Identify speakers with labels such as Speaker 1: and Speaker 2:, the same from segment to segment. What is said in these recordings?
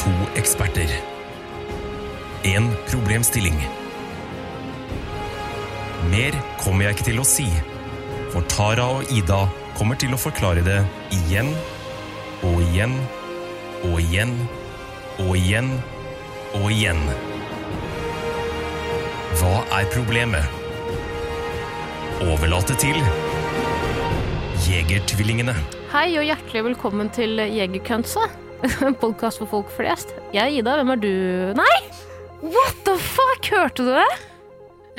Speaker 1: To eksperter. En problemstilling. Mer kommer jeg ikke til å si, for Tara og Ida kommer til å forklare det igjen og igjen og igjen og igjen og igjen. Hva er problemet? Overlate til Jegertvillingene.
Speaker 2: Hei og hjertelig velkommen til Jegerkønse. En podkast for folk flest. Jeg er Ida, hvem er du? Nei! What the fuck, hørte du det?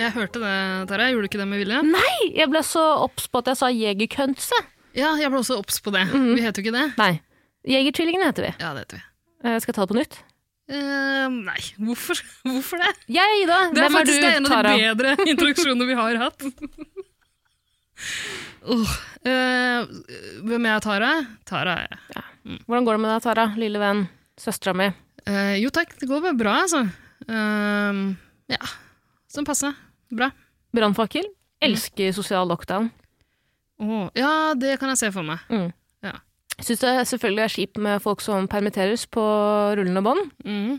Speaker 3: Jeg hørte det, Tara. Gjorde du ikke det med vilje?
Speaker 2: Nei! Jeg ble så obs på at jeg sa Jegerkønse.
Speaker 3: Ja, jeg ble også obs på det.
Speaker 2: Mhm.
Speaker 3: Vi heter jo ikke det.
Speaker 2: Nei. Jegertvillingene heter vi.
Speaker 3: Ja, det heter vi.
Speaker 2: Eh, Skal jeg ta det på nytt?
Speaker 3: Eh, nei, hvorfor, hvorfor det?
Speaker 2: Jeg er Ida,
Speaker 3: Det
Speaker 2: hvem
Speaker 3: er
Speaker 2: er du,
Speaker 3: faktisk en av
Speaker 2: Tara?
Speaker 3: de bedre introduksjonene vi har hatt. Åh, eh, hvem er jeg, Tara? Tara er jeg.
Speaker 2: Hvordan går det med deg, Tara? Lille venn. Søstera mi.
Speaker 3: Eh, jo takk, det går bare bra, altså. Eh, ja, sånn passe. Bra.
Speaker 2: Brannfakkel.
Speaker 3: Mm.
Speaker 2: Elsker sosial lockdown.
Speaker 3: Åh, ja, det kan jeg se for meg.
Speaker 2: Syns det selvfølgelig er kjipt med folk som permitteres på rullende bånd,
Speaker 3: Mm.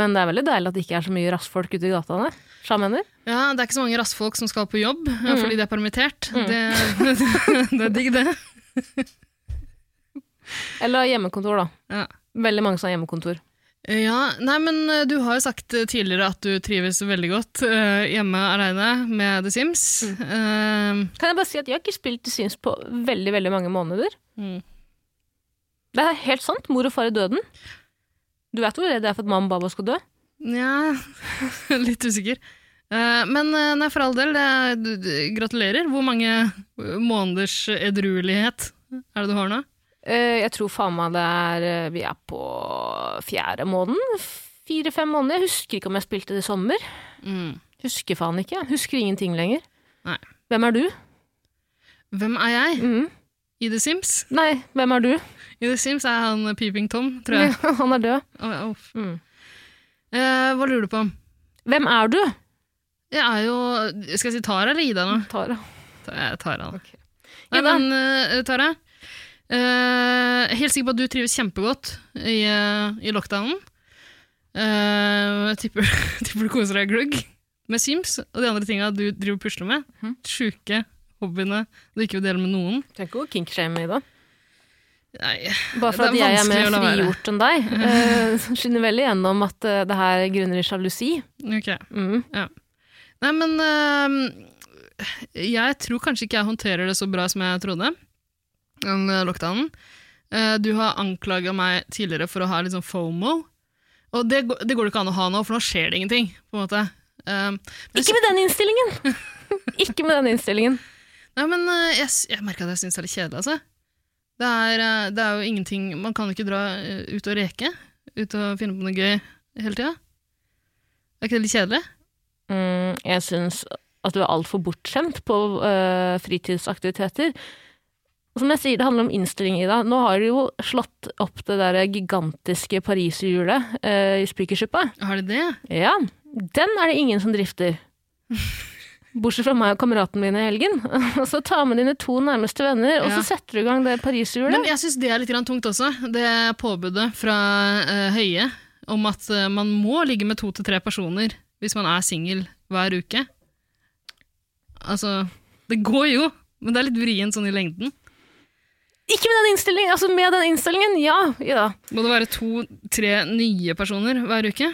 Speaker 2: men det er veldig deilig at det ikke er så mye rassfolk ute i gatene. Sjamener.
Speaker 3: Ja, det er ikke så mange rassfolk som skal på jobb eh,
Speaker 2: Mhm.
Speaker 3: fordi de er permittert.
Speaker 2: Mm.
Speaker 3: Det, det er digg, det.
Speaker 2: Eller hjemmekontor, da.
Speaker 3: Ja.
Speaker 2: Veldig mange som har hjemmekontor.
Speaker 3: Ja, nei, men eh, du har jo sagt eh, tidligere at du trives veldig godt eh, hjemme aleine med The Sims. Eh,
Speaker 2: Kan jeg bare si at jeg har ikke spilt The Sims på veldig, veldig mange måneder.
Speaker 3: Mm.
Speaker 2: Det er helt sant. Mor og far i døden. Du vet hvor redd jeg er for at mamma og baba skal dø?
Speaker 3: Nja, litt usikker. Eh, men eh, nei, for all del, det er, du, du, gratulerer. Hvor mange eh, måneders edruelighet er det du har nå?
Speaker 2: Eh, Jeg tror faen meg det er eh, Vi er på fjerde måneden. Fire-fem måneder. Jeg husker ikke om jeg spilte det i sommer.
Speaker 3: Mm.
Speaker 2: Husker faen ikke. Husker ingenting lenger.
Speaker 3: Nei.
Speaker 2: Hvem er du?
Speaker 3: Hvem er jeg
Speaker 2: Mm.
Speaker 3: i The Sims?
Speaker 2: Nei, hvem er du?
Speaker 3: I The Sims er han eh, Peeping Tom, tror jeg.
Speaker 2: Han er død.
Speaker 3: Å, uff.
Speaker 2: Mm.
Speaker 3: Eh, hva lurer du på?
Speaker 2: Hvem er du?
Speaker 3: Jeg er jo Skal jeg si Tara eller Ida nå?
Speaker 2: Tara.
Speaker 3: Jeg tar han.
Speaker 2: Ok.
Speaker 3: Nei,
Speaker 2: Ida?
Speaker 3: men eh, Tara, eh, jeg er helt sikker på at du trives kjempegodt i, eh, i lockdownen. Eh, jeg tipper, tipper du koser deg glugg med Sims og de andre tinga du driver og pusler med.
Speaker 2: Mhm.
Speaker 3: Sjuke hobbyene du ikke vil dele med noen.
Speaker 2: Trenger ikke å kinkshame i dag.
Speaker 3: Nei,
Speaker 2: Bare for
Speaker 3: Det er
Speaker 2: at jeg er mer
Speaker 3: vanskelig å la være.
Speaker 2: frigjort enn deg, eh, skinner veldig gjennom at eh, det her grunner i sjalusi.
Speaker 3: ok.
Speaker 2: Mm.
Speaker 3: Nei, men eh, jeg tror kanskje ikke jeg håndterer det så bra som jeg trodde, den eh, lockdownen. Eh, du har anklaga meg tidligere for å ha litt sånn FOMO, og det, går- det går det ikke an å ha nå, for nå skjer det ingenting, på en måte. Eh, men
Speaker 2: Ikke med den innstillingen! Ikke med den innstillingen.
Speaker 3: Nei, men eh, jeg, s- jeg merker at jeg syns det er litt kjedelig, altså. Det er, eh, det er jo ingenting Man kan jo ikke dra eh, ut og reke. Ut og finne på noe gøy hele tida. Er ikke det litt kjedelig?
Speaker 2: Mm, jeg syns at du er altfor bortskjemt på eh, fritidsaktiviteter. Og Som jeg sier, det handler om innstilling, Ida. Nå har de jo slått opp det der gigantiske pariserhjulet eh, i Spikersuppa.
Speaker 3: Har de det?
Speaker 2: Ja, den er det ingen som drifter. Bortsett fra meg og kameraten min i helgen. Og så ta med dine to nærmeste venner, og
Speaker 3: Ja.
Speaker 2: så setter du i gang det pariserhjulet.
Speaker 3: Men jeg syns det er litt grann tungt også, det påbudet fra eh, Høie om at eh, man må ligge med to til tre personer hvis man er singel hver uke. Altså, det går jo, men det er litt vrient sånn i lengden.
Speaker 2: Ikke med den innstillingen! Altså, med den innstillingen, ja, Ida.
Speaker 3: Må det være to-tre nye personer hver uke?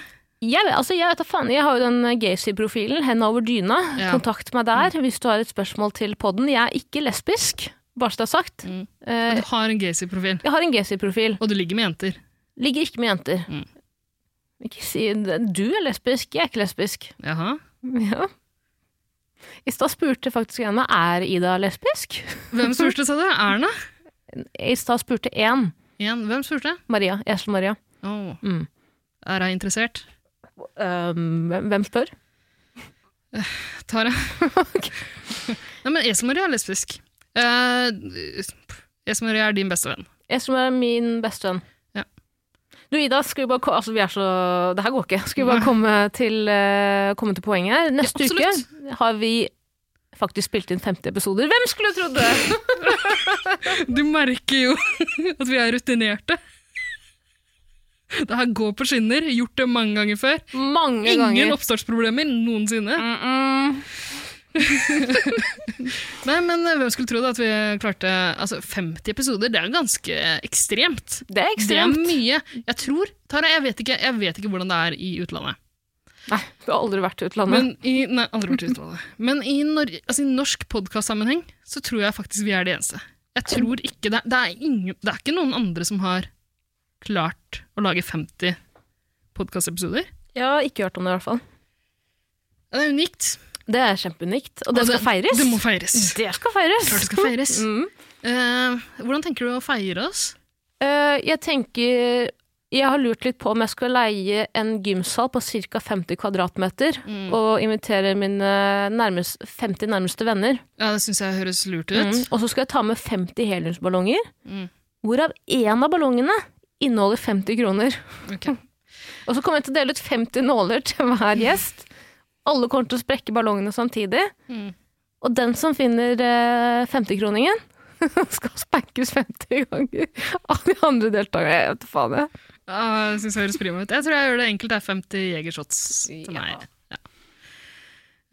Speaker 2: Jeg, vet- altså, jeg vet da faen, jeg har jo den eh, Gacy-profilen, henda over dyna.
Speaker 3: Ja. Mm.
Speaker 2: Kontakt meg der hvis du har et spørsmål til podden. Jeg er ikke lesbisk, bare så det er sagt.
Speaker 3: Mm.
Speaker 2: Eh,
Speaker 3: Du har en gacy-profil,
Speaker 2: jeg har en Gacy-profil.
Speaker 3: og du ligger med jenter.
Speaker 2: Ligger ikke med jenter.
Speaker 3: Mm.
Speaker 2: Ikke si du er lesbisk, jeg er ikke lesbisk.
Speaker 3: Jaha.
Speaker 2: Ja. I stad spurte faktisk en meg er Ida lesbisk.
Speaker 3: Hvem spurte, sa du? Erna?
Speaker 2: I stad spurte én
Speaker 3: Igjen, hvem spurte?
Speaker 2: Maria. Esel Maria.
Speaker 3: Åh,
Speaker 2: Mm.
Speaker 3: Er hun interessert?
Speaker 2: Øhm, Ehm, hvem- hvem spør?
Speaker 3: Tara. Nei, men Esmarie er lesbisk. Uh, Esmarie er din beste venn.
Speaker 2: Esel Maria er min bestevenn.
Speaker 3: Ja.
Speaker 2: Du, Ida, skal vi bare ko- Altså, vi er så Det her går ikke. Skal vi bare komme til, eh, komme til poenget her? Neste
Speaker 3: Ja,
Speaker 2: uke har vi faktisk spilt inn 50 episoder. Hvem skulle trodd det?!
Speaker 3: Du merker jo at vi er rutinerte. Det her går på skinner. Gjort det mange ganger før.
Speaker 2: Mange
Speaker 3: Ingen
Speaker 2: ganger.
Speaker 3: oppstartsproblemer noensinne.
Speaker 2: Mm -mm.
Speaker 3: Nei, men hvem skulle tro da at vi klarte altså 50 episoder? Det er jo ganske ekstremt.
Speaker 2: Det er
Speaker 3: Det
Speaker 2: ekstremt.
Speaker 3: er mye. Jeg tror, Tara, jeg vet ikke, jeg vet ikke hvordan det er i utlandet.
Speaker 2: Nei, du har aldri vært i utlandet.
Speaker 3: Men i, nei, aldri vært i utlandet. Men i, nor altså, i norsk podkastsammenheng så tror jeg faktisk vi er de eneste. Jeg tror ikke det, er- det, er ingen, det er ikke noen andre som har klart å lage 50 podkastepisoder.
Speaker 2: jeg har ikke hørt om det, i hvert fall.
Speaker 3: Det er unikt.
Speaker 2: Det er kjempeunikt, og det
Speaker 3: Og
Speaker 2: skal feires.
Speaker 3: Det må feires.
Speaker 2: Det skal feires.
Speaker 3: Klart det skal feires.
Speaker 2: Mm.
Speaker 3: Eh, hvordan tenker du å feire oss?
Speaker 2: Eh, jeg tenker Jeg har lurt litt på om jeg skal leie en gymsal på ca. 50 kvadratmeter
Speaker 3: Mm.
Speaker 2: og invitere mine nærmest, 50 nærmeste venner.
Speaker 3: Ja, Det syns jeg høres lurt ut.
Speaker 2: Mm. Og så skal jeg ta med 50 heliumsballonger,
Speaker 3: Mm.
Speaker 2: hvorav én av ballongene inneholder 50 kroner.
Speaker 3: Ok.
Speaker 2: Og så kommer jeg til å dele ut 50 nåler til hver gjest. Alle kommer til å sprekke ballongene samtidig.
Speaker 3: Mm.
Speaker 2: Og den som finner eh, 50-kroningen, skal spankes 50 ganger av de andre deltakerne. Jeg vet faen, jeg.
Speaker 3: Ja, jeg synes det høres prima ut. Jeg tror jeg gjør det enkelt. Det er 50 jegershots til
Speaker 2: Ja.
Speaker 3: meg. Ja.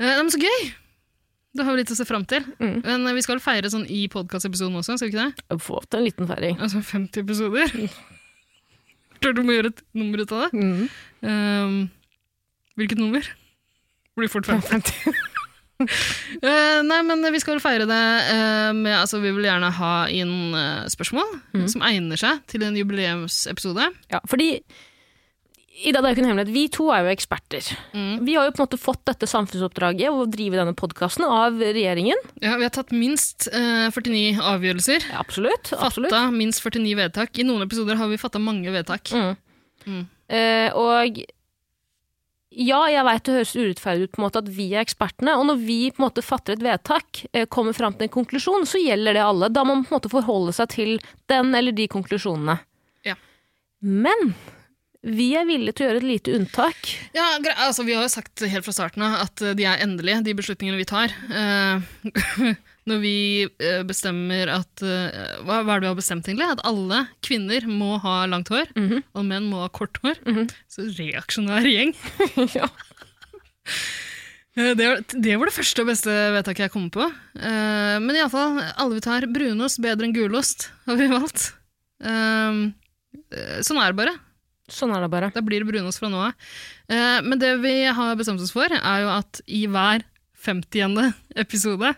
Speaker 3: Eh, nei, men så gøy! Da har vi litt å se fram til.
Speaker 2: Mm.
Speaker 3: Men eh, vi skal feire sånn i podkastepisoden også, skal vi ikke det?
Speaker 2: Få opp til en liten feiring.
Speaker 3: Altså 50 episoder.
Speaker 2: Mm.
Speaker 3: Klart du må gjøre et nummer ut av det. Ehm, hvilket nummer? Blir fort 50. Eh, nei, men vi skal feire det eh, med altså, Vi vil gjerne ha inn eh, spørsmål
Speaker 2: Mm.
Speaker 3: som egner seg til en jubileumsepisode.
Speaker 2: Ja, fordi Ida, det er jo ikke en hemmelighet. Vi to er jo eksperter.
Speaker 3: Mm.
Speaker 2: Vi har jo på en måte fått dette samfunnsoppdraget å drive denne podkasten av regjeringen.
Speaker 3: Ja, vi har tatt minst eh, 49 avgjørelser.
Speaker 2: Ja, Absolutt. absolutt.
Speaker 3: fatta minst 49 vedtak. I noen episoder har vi fatta mange vedtak.
Speaker 2: Mm.
Speaker 3: Mm.
Speaker 2: Eh, og ja, jeg veit det høres urettferdig ut på en måte at vi er ekspertene, og når vi på en måte fatter et vedtak, eh, kommer fram til en konklusjon, så gjelder det alle. Da må man på en måte forholde seg til den eller de konklusjonene.
Speaker 3: Ja.
Speaker 2: Men vi er villige til å gjøre et lite unntak.
Speaker 3: Ja, gre- altså, vi har jo sagt helt fra starten av at eh, de er endelige, de beslutningene vi tar. Eh, når vi eh, bestemmer at eh, hva, hva er det vi har bestemt, egentlig? At alle kvinner må ha langt hår,
Speaker 2: Mhm.
Speaker 3: og menn må ha kort hår.
Speaker 2: Mhm.
Speaker 3: Så reaksjonær gjeng.
Speaker 2: Ja.
Speaker 3: Eh, Det var, det var det første og beste vedtaket jeg kom på. Eh, Men iallfall, alle vi tar brunost bedre enn gulost, har vi valgt. Eh, eh, Sånn er det bare.
Speaker 2: Sånn er det bare.
Speaker 3: Da blir det brunost fra nå av. Eh, men det vi har bestemt oss for, er jo at i hver 50. episode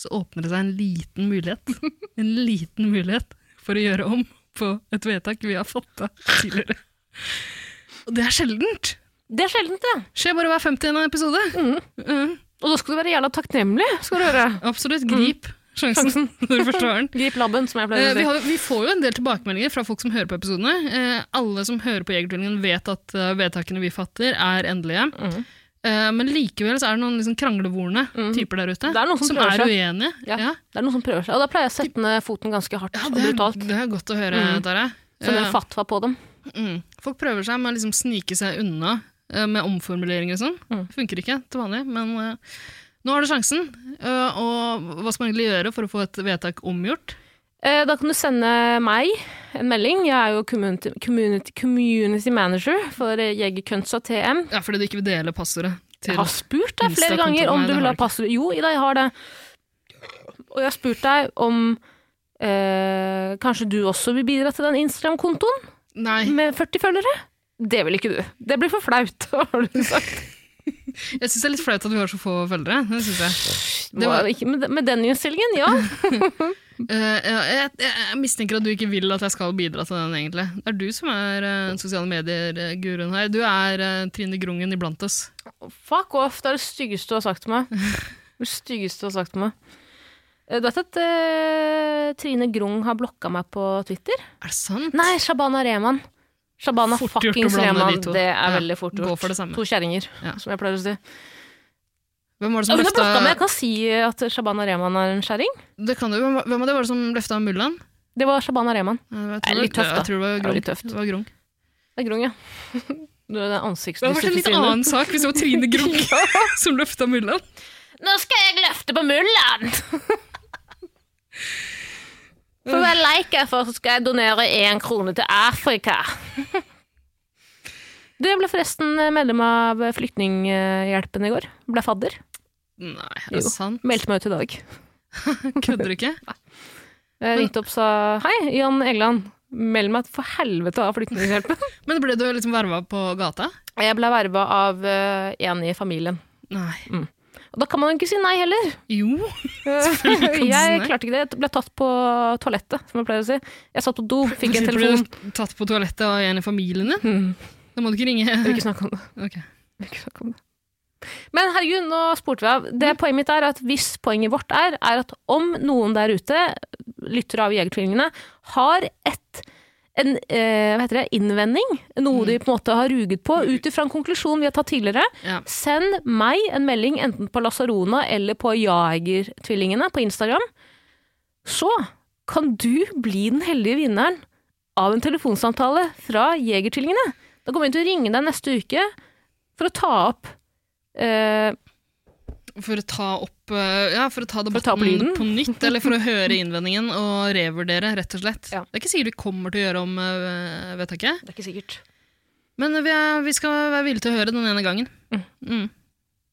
Speaker 3: så åpner det seg en liten mulighet. En liten mulighet for å gjøre om på et vedtak vi har fått av tidligere. Og det er sjeldent!
Speaker 2: Det er sjeldent, det.
Speaker 3: Skjer bare hver 50. episode. Mm,
Speaker 2: Og da skal du være jævla takknemlig, skal du høre.
Speaker 3: absolutt. Grip sjansen når du først har den.
Speaker 2: Grip labben, som jeg
Speaker 3: Eh,
Speaker 2: Mm. pleier å si.
Speaker 3: vi, har, vi får jo en del tilbakemeldinger fra folk som hører på episodene. Eh, alle som hører på Jegertvillingen, vet at eh, vedtakene vi fatter, er endelige.
Speaker 2: Mhm.
Speaker 3: Eh, men likevel så er det noen liksom kranglevorne
Speaker 2: Mhm.
Speaker 3: typer der ute
Speaker 2: Det er noen som prøver
Speaker 3: er
Speaker 2: seg.
Speaker 3: uenige.
Speaker 2: Ja. Det er noen som prøver seg. Og da pleier jeg å sette ned foten ganske hardt
Speaker 3: Ja,
Speaker 2: og
Speaker 3: det, er,
Speaker 2: brutalt.
Speaker 3: det er godt å høre,
Speaker 2: Mhm.
Speaker 3: Tara.
Speaker 2: Som en
Speaker 3: Eh,
Speaker 2: fatwa på dem.
Speaker 3: mm. Folk prøver seg med å liksom snike seg unna eh, med omformuleringer og sånn.
Speaker 2: Mhm.
Speaker 3: Funker ikke til vanlig, men eh, nå har du sjansen. Eh, og hva skal man egentlig gjøre for å få et vedtak omgjort?
Speaker 2: Eh, Da kan du sende meg en melding. Jeg er jo community, community, community manager for eh, Jegerkunsta TM.
Speaker 3: Ja, fordi du ikke vil dele passordet.
Speaker 2: Jeg
Speaker 3: Til.
Speaker 2: har spurt deg flere
Speaker 3: Insta-kontoen.
Speaker 2: ganger om du
Speaker 3: Nei, det
Speaker 2: vil
Speaker 3: har
Speaker 2: ha
Speaker 3: du ikke.
Speaker 2: passord. Jo, Ida, jeg har det. Og jeg har spurt deg om eh, kanskje du også vil bidra til den Instagram-kontoen
Speaker 3: Nei,
Speaker 2: med 40 følgere? Det vil ikke du. Det blir for flaut, har du sagt.
Speaker 3: Jeg syns det er litt flaut at vi har så få følgere. Det synes jeg.
Speaker 2: Det
Speaker 3: var-
Speaker 2: var ikke, med, med den innstillingen, ja.
Speaker 3: Eh, ja, jeg, jeg mistenker at du ikke vil at jeg skal bidra til den, egentlig. Det er du som er eh, sosiale medier-guruen her. Du er eh, Trine Grungen iblant oss.
Speaker 2: Fuck off, det er det styggeste du har sagt til meg. Det styggeste du har sagt til meg. Eh, Du vet at eh, Trine Grung har blokka meg på Twitter?
Speaker 3: Er det sant?
Speaker 2: Nei, Shabana Rehman. Shabana
Speaker 3: Fort gjort å
Speaker 2: fuckings
Speaker 3: blande de
Speaker 2: Rehman.
Speaker 3: to.
Speaker 2: Det er
Speaker 3: Ja,
Speaker 2: veldig fort
Speaker 3: gå
Speaker 2: gjort.
Speaker 3: for det samme.
Speaker 2: To kjerringer,
Speaker 3: Ja.
Speaker 2: som jeg pleier å si.
Speaker 3: Hvem var
Speaker 2: Ja,
Speaker 3: det som
Speaker 2: Hun har
Speaker 3: løfta
Speaker 2: blokka meg. Jeg kan si at Shabana Rehman er en kjerring.
Speaker 3: Det kan du. Hvem var- Hvem var det, var det som løfta Mullan?
Speaker 2: Det var Shabana Rehman.
Speaker 3: Eh, Jeg, tror
Speaker 2: Det er litt
Speaker 3: det-
Speaker 2: tøft, da.
Speaker 3: jeg tror det var
Speaker 2: Det var
Speaker 3: Grung.
Speaker 2: litt tøft.
Speaker 3: Det, var Grung.
Speaker 2: Det er Grung, ja. Du er den
Speaker 3: det hadde vært en litt
Speaker 2: ansiktsdysleksien din.
Speaker 3: annen sak hvis det var Trine Grung som løfta Mullan.
Speaker 2: Nå skal jeg løfte på mullen! For hver like jeg får, så skal jeg donere én krone til Afrika. Du, jeg ble forresten medlem av Flyktninghjelpen i går. Ble fadder.
Speaker 3: Nei, er det
Speaker 2: Jo.
Speaker 3: sant?
Speaker 2: Meldte meg ut i dag.
Speaker 3: Kødder du ikke?
Speaker 2: Jeg ringte opp og sa hei, Jan Egeland, meld meg for helvete av Flyktninghjelpen.
Speaker 3: Men ble du liksom verva på gata?
Speaker 2: jeg ble verva av eh, en i familien.
Speaker 3: Nei.
Speaker 2: Og da kan man jo ikke si nei heller.
Speaker 3: Jo. Selvfølgelig kan du si
Speaker 2: jeg
Speaker 3: nei.
Speaker 2: klarte ikke det. Jeg ble tatt på toalettet, som jeg pleier å si. Jeg satt på do, fikk en
Speaker 3: Sitter du
Speaker 2: telefon.
Speaker 3: tatt på toalettet av en i familien din?
Speaker 2: Hmm.
Speaker 3: Da må du ikke
Speaker 2: Jeg vil
Speaker 3: ringe.
Speaker 2: ikke snakke om det.
Speaker 3: Ok.
Speaker 2: Jeg vil ikke snakke om det. Men herregud, nå spurte vi av. Det poenget mitt er at hvis poenget vårt er, er at om noen der ute, lyttere av Jegertvillingene, har et en eh, hva heter det, innvending, noe de på en måte har ruget på, ut ifra en konklusjon vi har tatt tidligere,
Speaker 3: Ja.
Speaker 2: send meg en melding enten på Lasarona eller på Jagertvillingene på Instagram. Så kan du bli den heldige vinneren av en telefonsamtale fra Jegertvillingene. Da kommer vi til å ringe deg neste uke for å ta opp eh,
Speaker 3: For å ta opp eh, Ja, for å ta
Speaker 2: å ta opp
Speaker 3: debatten
Speaker 2: lyden.
Speaker 3: på nytt, eller for å høre innvendingen og revurdere, rett og slett.
Speaker 2: Ja.
Speaker 3: Det er ikke sikkert vi kommer til å gjøre om eh, vedtaket,
Speaker 2: Det er ikke sikkert.
Speaker 3: men vi, er, vi skal være villige til å høre den ene gangen. Mm.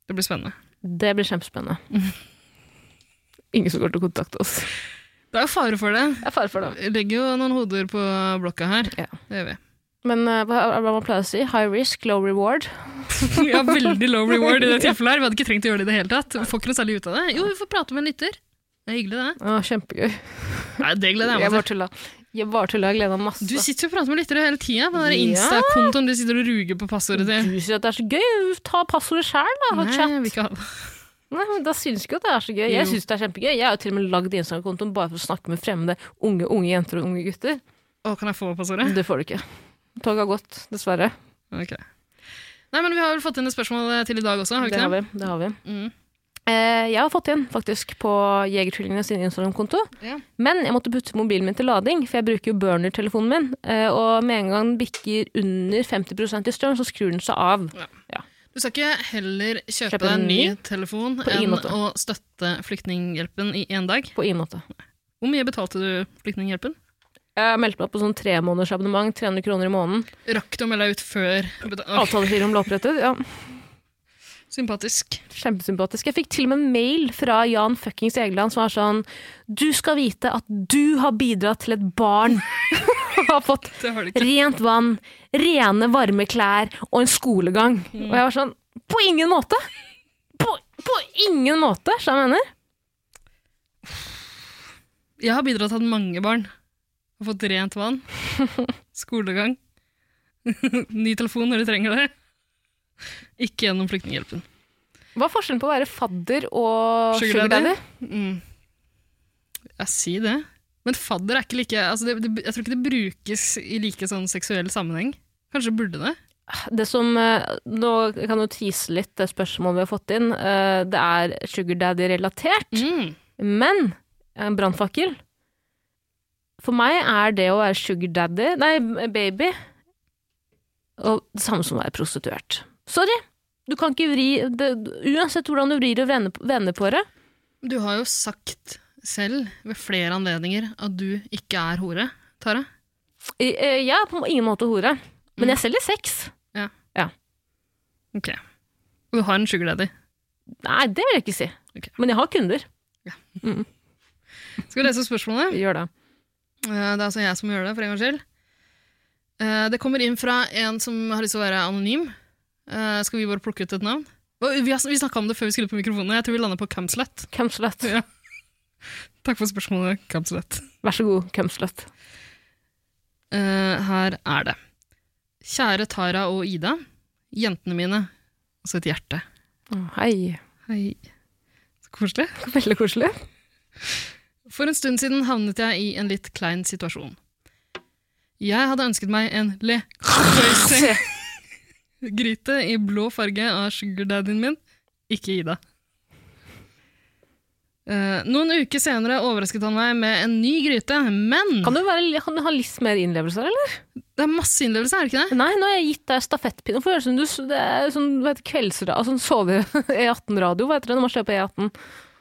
Speaker 3: Det blir spennende.
Speaker 2: Det blir kjempespennende. Ingen som går til å kontakte oss.
Speaker 3: Det er jo fare for det.
Speaker 2: Jeg er fare for det.
Speaker 3: Vi legger jo noen hoder på blokka her.
Speaker 2: Ja.
Speaker 3: Det gjør vi.
Speaker 2: Men eh, hva er det man pleier å si? High risk, low reward.
Speaker 3: Vi har veldig low reward i det tilfellet her. Vi hadde ikke trengt å gjøre det i det hele tatt. Vi får ikke noe særlig ut av det. Jo, vi får prate med en lytter. Det er hyggelig, det.
Speaker 2: Å, kjempegøy.
Speaker 3: Nei, det gleder
Speaker 2: Jeg
Speaker 3: jeg meg
Speaker 2: bare
Speaker 3: til.
Speaker 2: tulla. Jeg bare tulla. Jeg gleder meg masse.
Speaker 3: Du sitter jo og prater med lyttere hele tida på den der
Speaker 2: Ja.
Speaker 3: Insta-kontoen du sitter og ruger på passordet til.
Speaker 2: Du sier at det er så gøy. Ta passordet sjæl, da. og
Speaker 3: Nei,
Speaker 2: chat.
Speaker 3: jeg vil ikke ha det.
Speaker 2: Nei, men Da syns ikke at det er så gøy. Jeg
Speaker 3: Jo.
Speaker 2: syns det er kjempegøy. Jeg har jo til og med lagd Instagram-kontoen bare for å snakke med fremmede unge unge jenter og unge gutter.
Speaker 3: Å, kan jeg få passordet?
Speaker 2: Det får du ikke. Toget har gått, dessverre.
Speaker 3: Ok. Nei, men vi har vel fått inn et spørsmål eh, til i dag også, har vi
Speaker 2: Det
Speaker 3: ikke
Speaker 2: har
Speaker 3: det?
Speaker 2: vi. Det har vi.
Speaker 3: Mm.
Speaker 2: Eh, jeg har fått igjen, faktisk, på Jegertvillingene sin Instagram-konto.
Speaker 3: Ja.
Speaker 2: Men jeg måtte putte mobilen min til lading, for jeg bruker jo burner-telefonen min. Eh, og med en gang den bikker under 50 i strøm, så skrur den seg av.
Speaker 3: Du skal ikke heller kjøpe,
Speaker 2: Kjøpe
Speaker 3: deg en
Speaker 2: en
Speaker 3: ny
Speaker 2: ny?
Speaker 3: telefon
Speaker 2: På
Speaker 3: enn
Speaker 2: ingen måte.
Speaker 3: å støtte Flyktninghjelpen i én dag.
Speaker 2: På ingen måte.
Speaker 3: Hvor mye betalte du Flyktninghjelpen?
Speaker 2: Jeg meldte meg på sånn tremånedersabonnement, 300 kroner i måneden.
Speaker 3: Rakk du å melde deg ut før? beta- Åh,
Speaker 2: Avtalefirmaet ble opprettet. Ja.
Speaker 3: sympatisk.
Speaker 2: Kjempesympatisk. Jeg fikk til og med en mail fra Jan fuckings Egeland som var sånn Du skal vite at du har bidratt til et barn og har fått
Speaker 3: Det har du ikke.
Speaker 2: rent vann, rene, varme klær og en skolegang. Og jeg var sånn På ingen måte! På, på ingen måte, skjønner jeg mener.
Speaker 3: Jeg har bidratt til at mange barn har fått rent vann, skolegang, ny telefon når de trenger det. Ikke gjennom Flyktninghjelpen.
Speaker 2: Hva er forskjellen på å være fadder og
Speaker 3: Sugar
Speaker 2: sugar daddy?
Speaker 3: Mm. Jeg sier det. Men fadder er ikke like altså det, det, Jeg tror ikke det brukes i like sånn seksuell sammenheng. Kanskje burde det?
Speaker 2: Det som, eh, Nå kan du tease litt det spørsmålet vi har fått inn. Eh, Det er sugar daddy-relatert. Men en brannfakkel For meg er det å være sugar daddy Nei, baby Og det samme som å være prostituert. Sorry! Du kan ikke vri det, Uansett hvordan du vrir og vender, på- vender på det
Speaker 3: Du har jo sagt selv ved flere anledninger at du ikke er hore, Tara.
Speaker 2: I- eh, Jeg er på ingen måte hore, men jeg selger sex.
Speaker 3: Ok. Og du har en sugar daddy.
Speaker 2: Nei, det vil jeg ikke si.
Speaker 3: Ok.
Speaker 2: Men jeg har kunder.
Speaker 3: Skal vi lese opp spørsmålet?
Speaker 2: Gjør det.
Speaker 3: Eh, Det er altså jeg som gjør det, for en gangs skyld. Eh, Det kommer inn fra en som har lyst til å være anonym. Eh, Skal vi bare plukke ut et navn? Og Vi har- vi snakka om det før vi skulle på mikrofonen. Jeg tror vi lander på Camslet.
Speaker 2: Cumslut.
Speaker 3: Ja. Takk for spørsmålet, Camslet.
Speaker 2: Vær så god, cumslut.
Speaker 3: Eh, Her er det. Kjære Tara og Ida. Jentene mine. Altså et hjerte.
Speaker 2: Å, Hei.
Speaker 3: Hei. Så koselig.
Speaker 2: Veldig koselig.
Speaker 3: For en stund siden havnet jeg i en litt klein situasjon. Jeg hadde ønsket meg en le gryte i blå farge av sugardaddyen min, ikke Ida. Eh, noen uker senere overrasket han meg med en ny gryte, men
Speaker 2: Kan du, være, kan du ha litt mer innlevelse, eller?
Speaker 3: Det er masse innlevelse, er det ikke det?
Speaker 2: Nei, nå har jeg gitt deg stafettpinnen. For det høres ut som du, det er sånn hva heter det, kveldsra... Altså, sånn sove E18-radio, hva heter det når man ser på E18?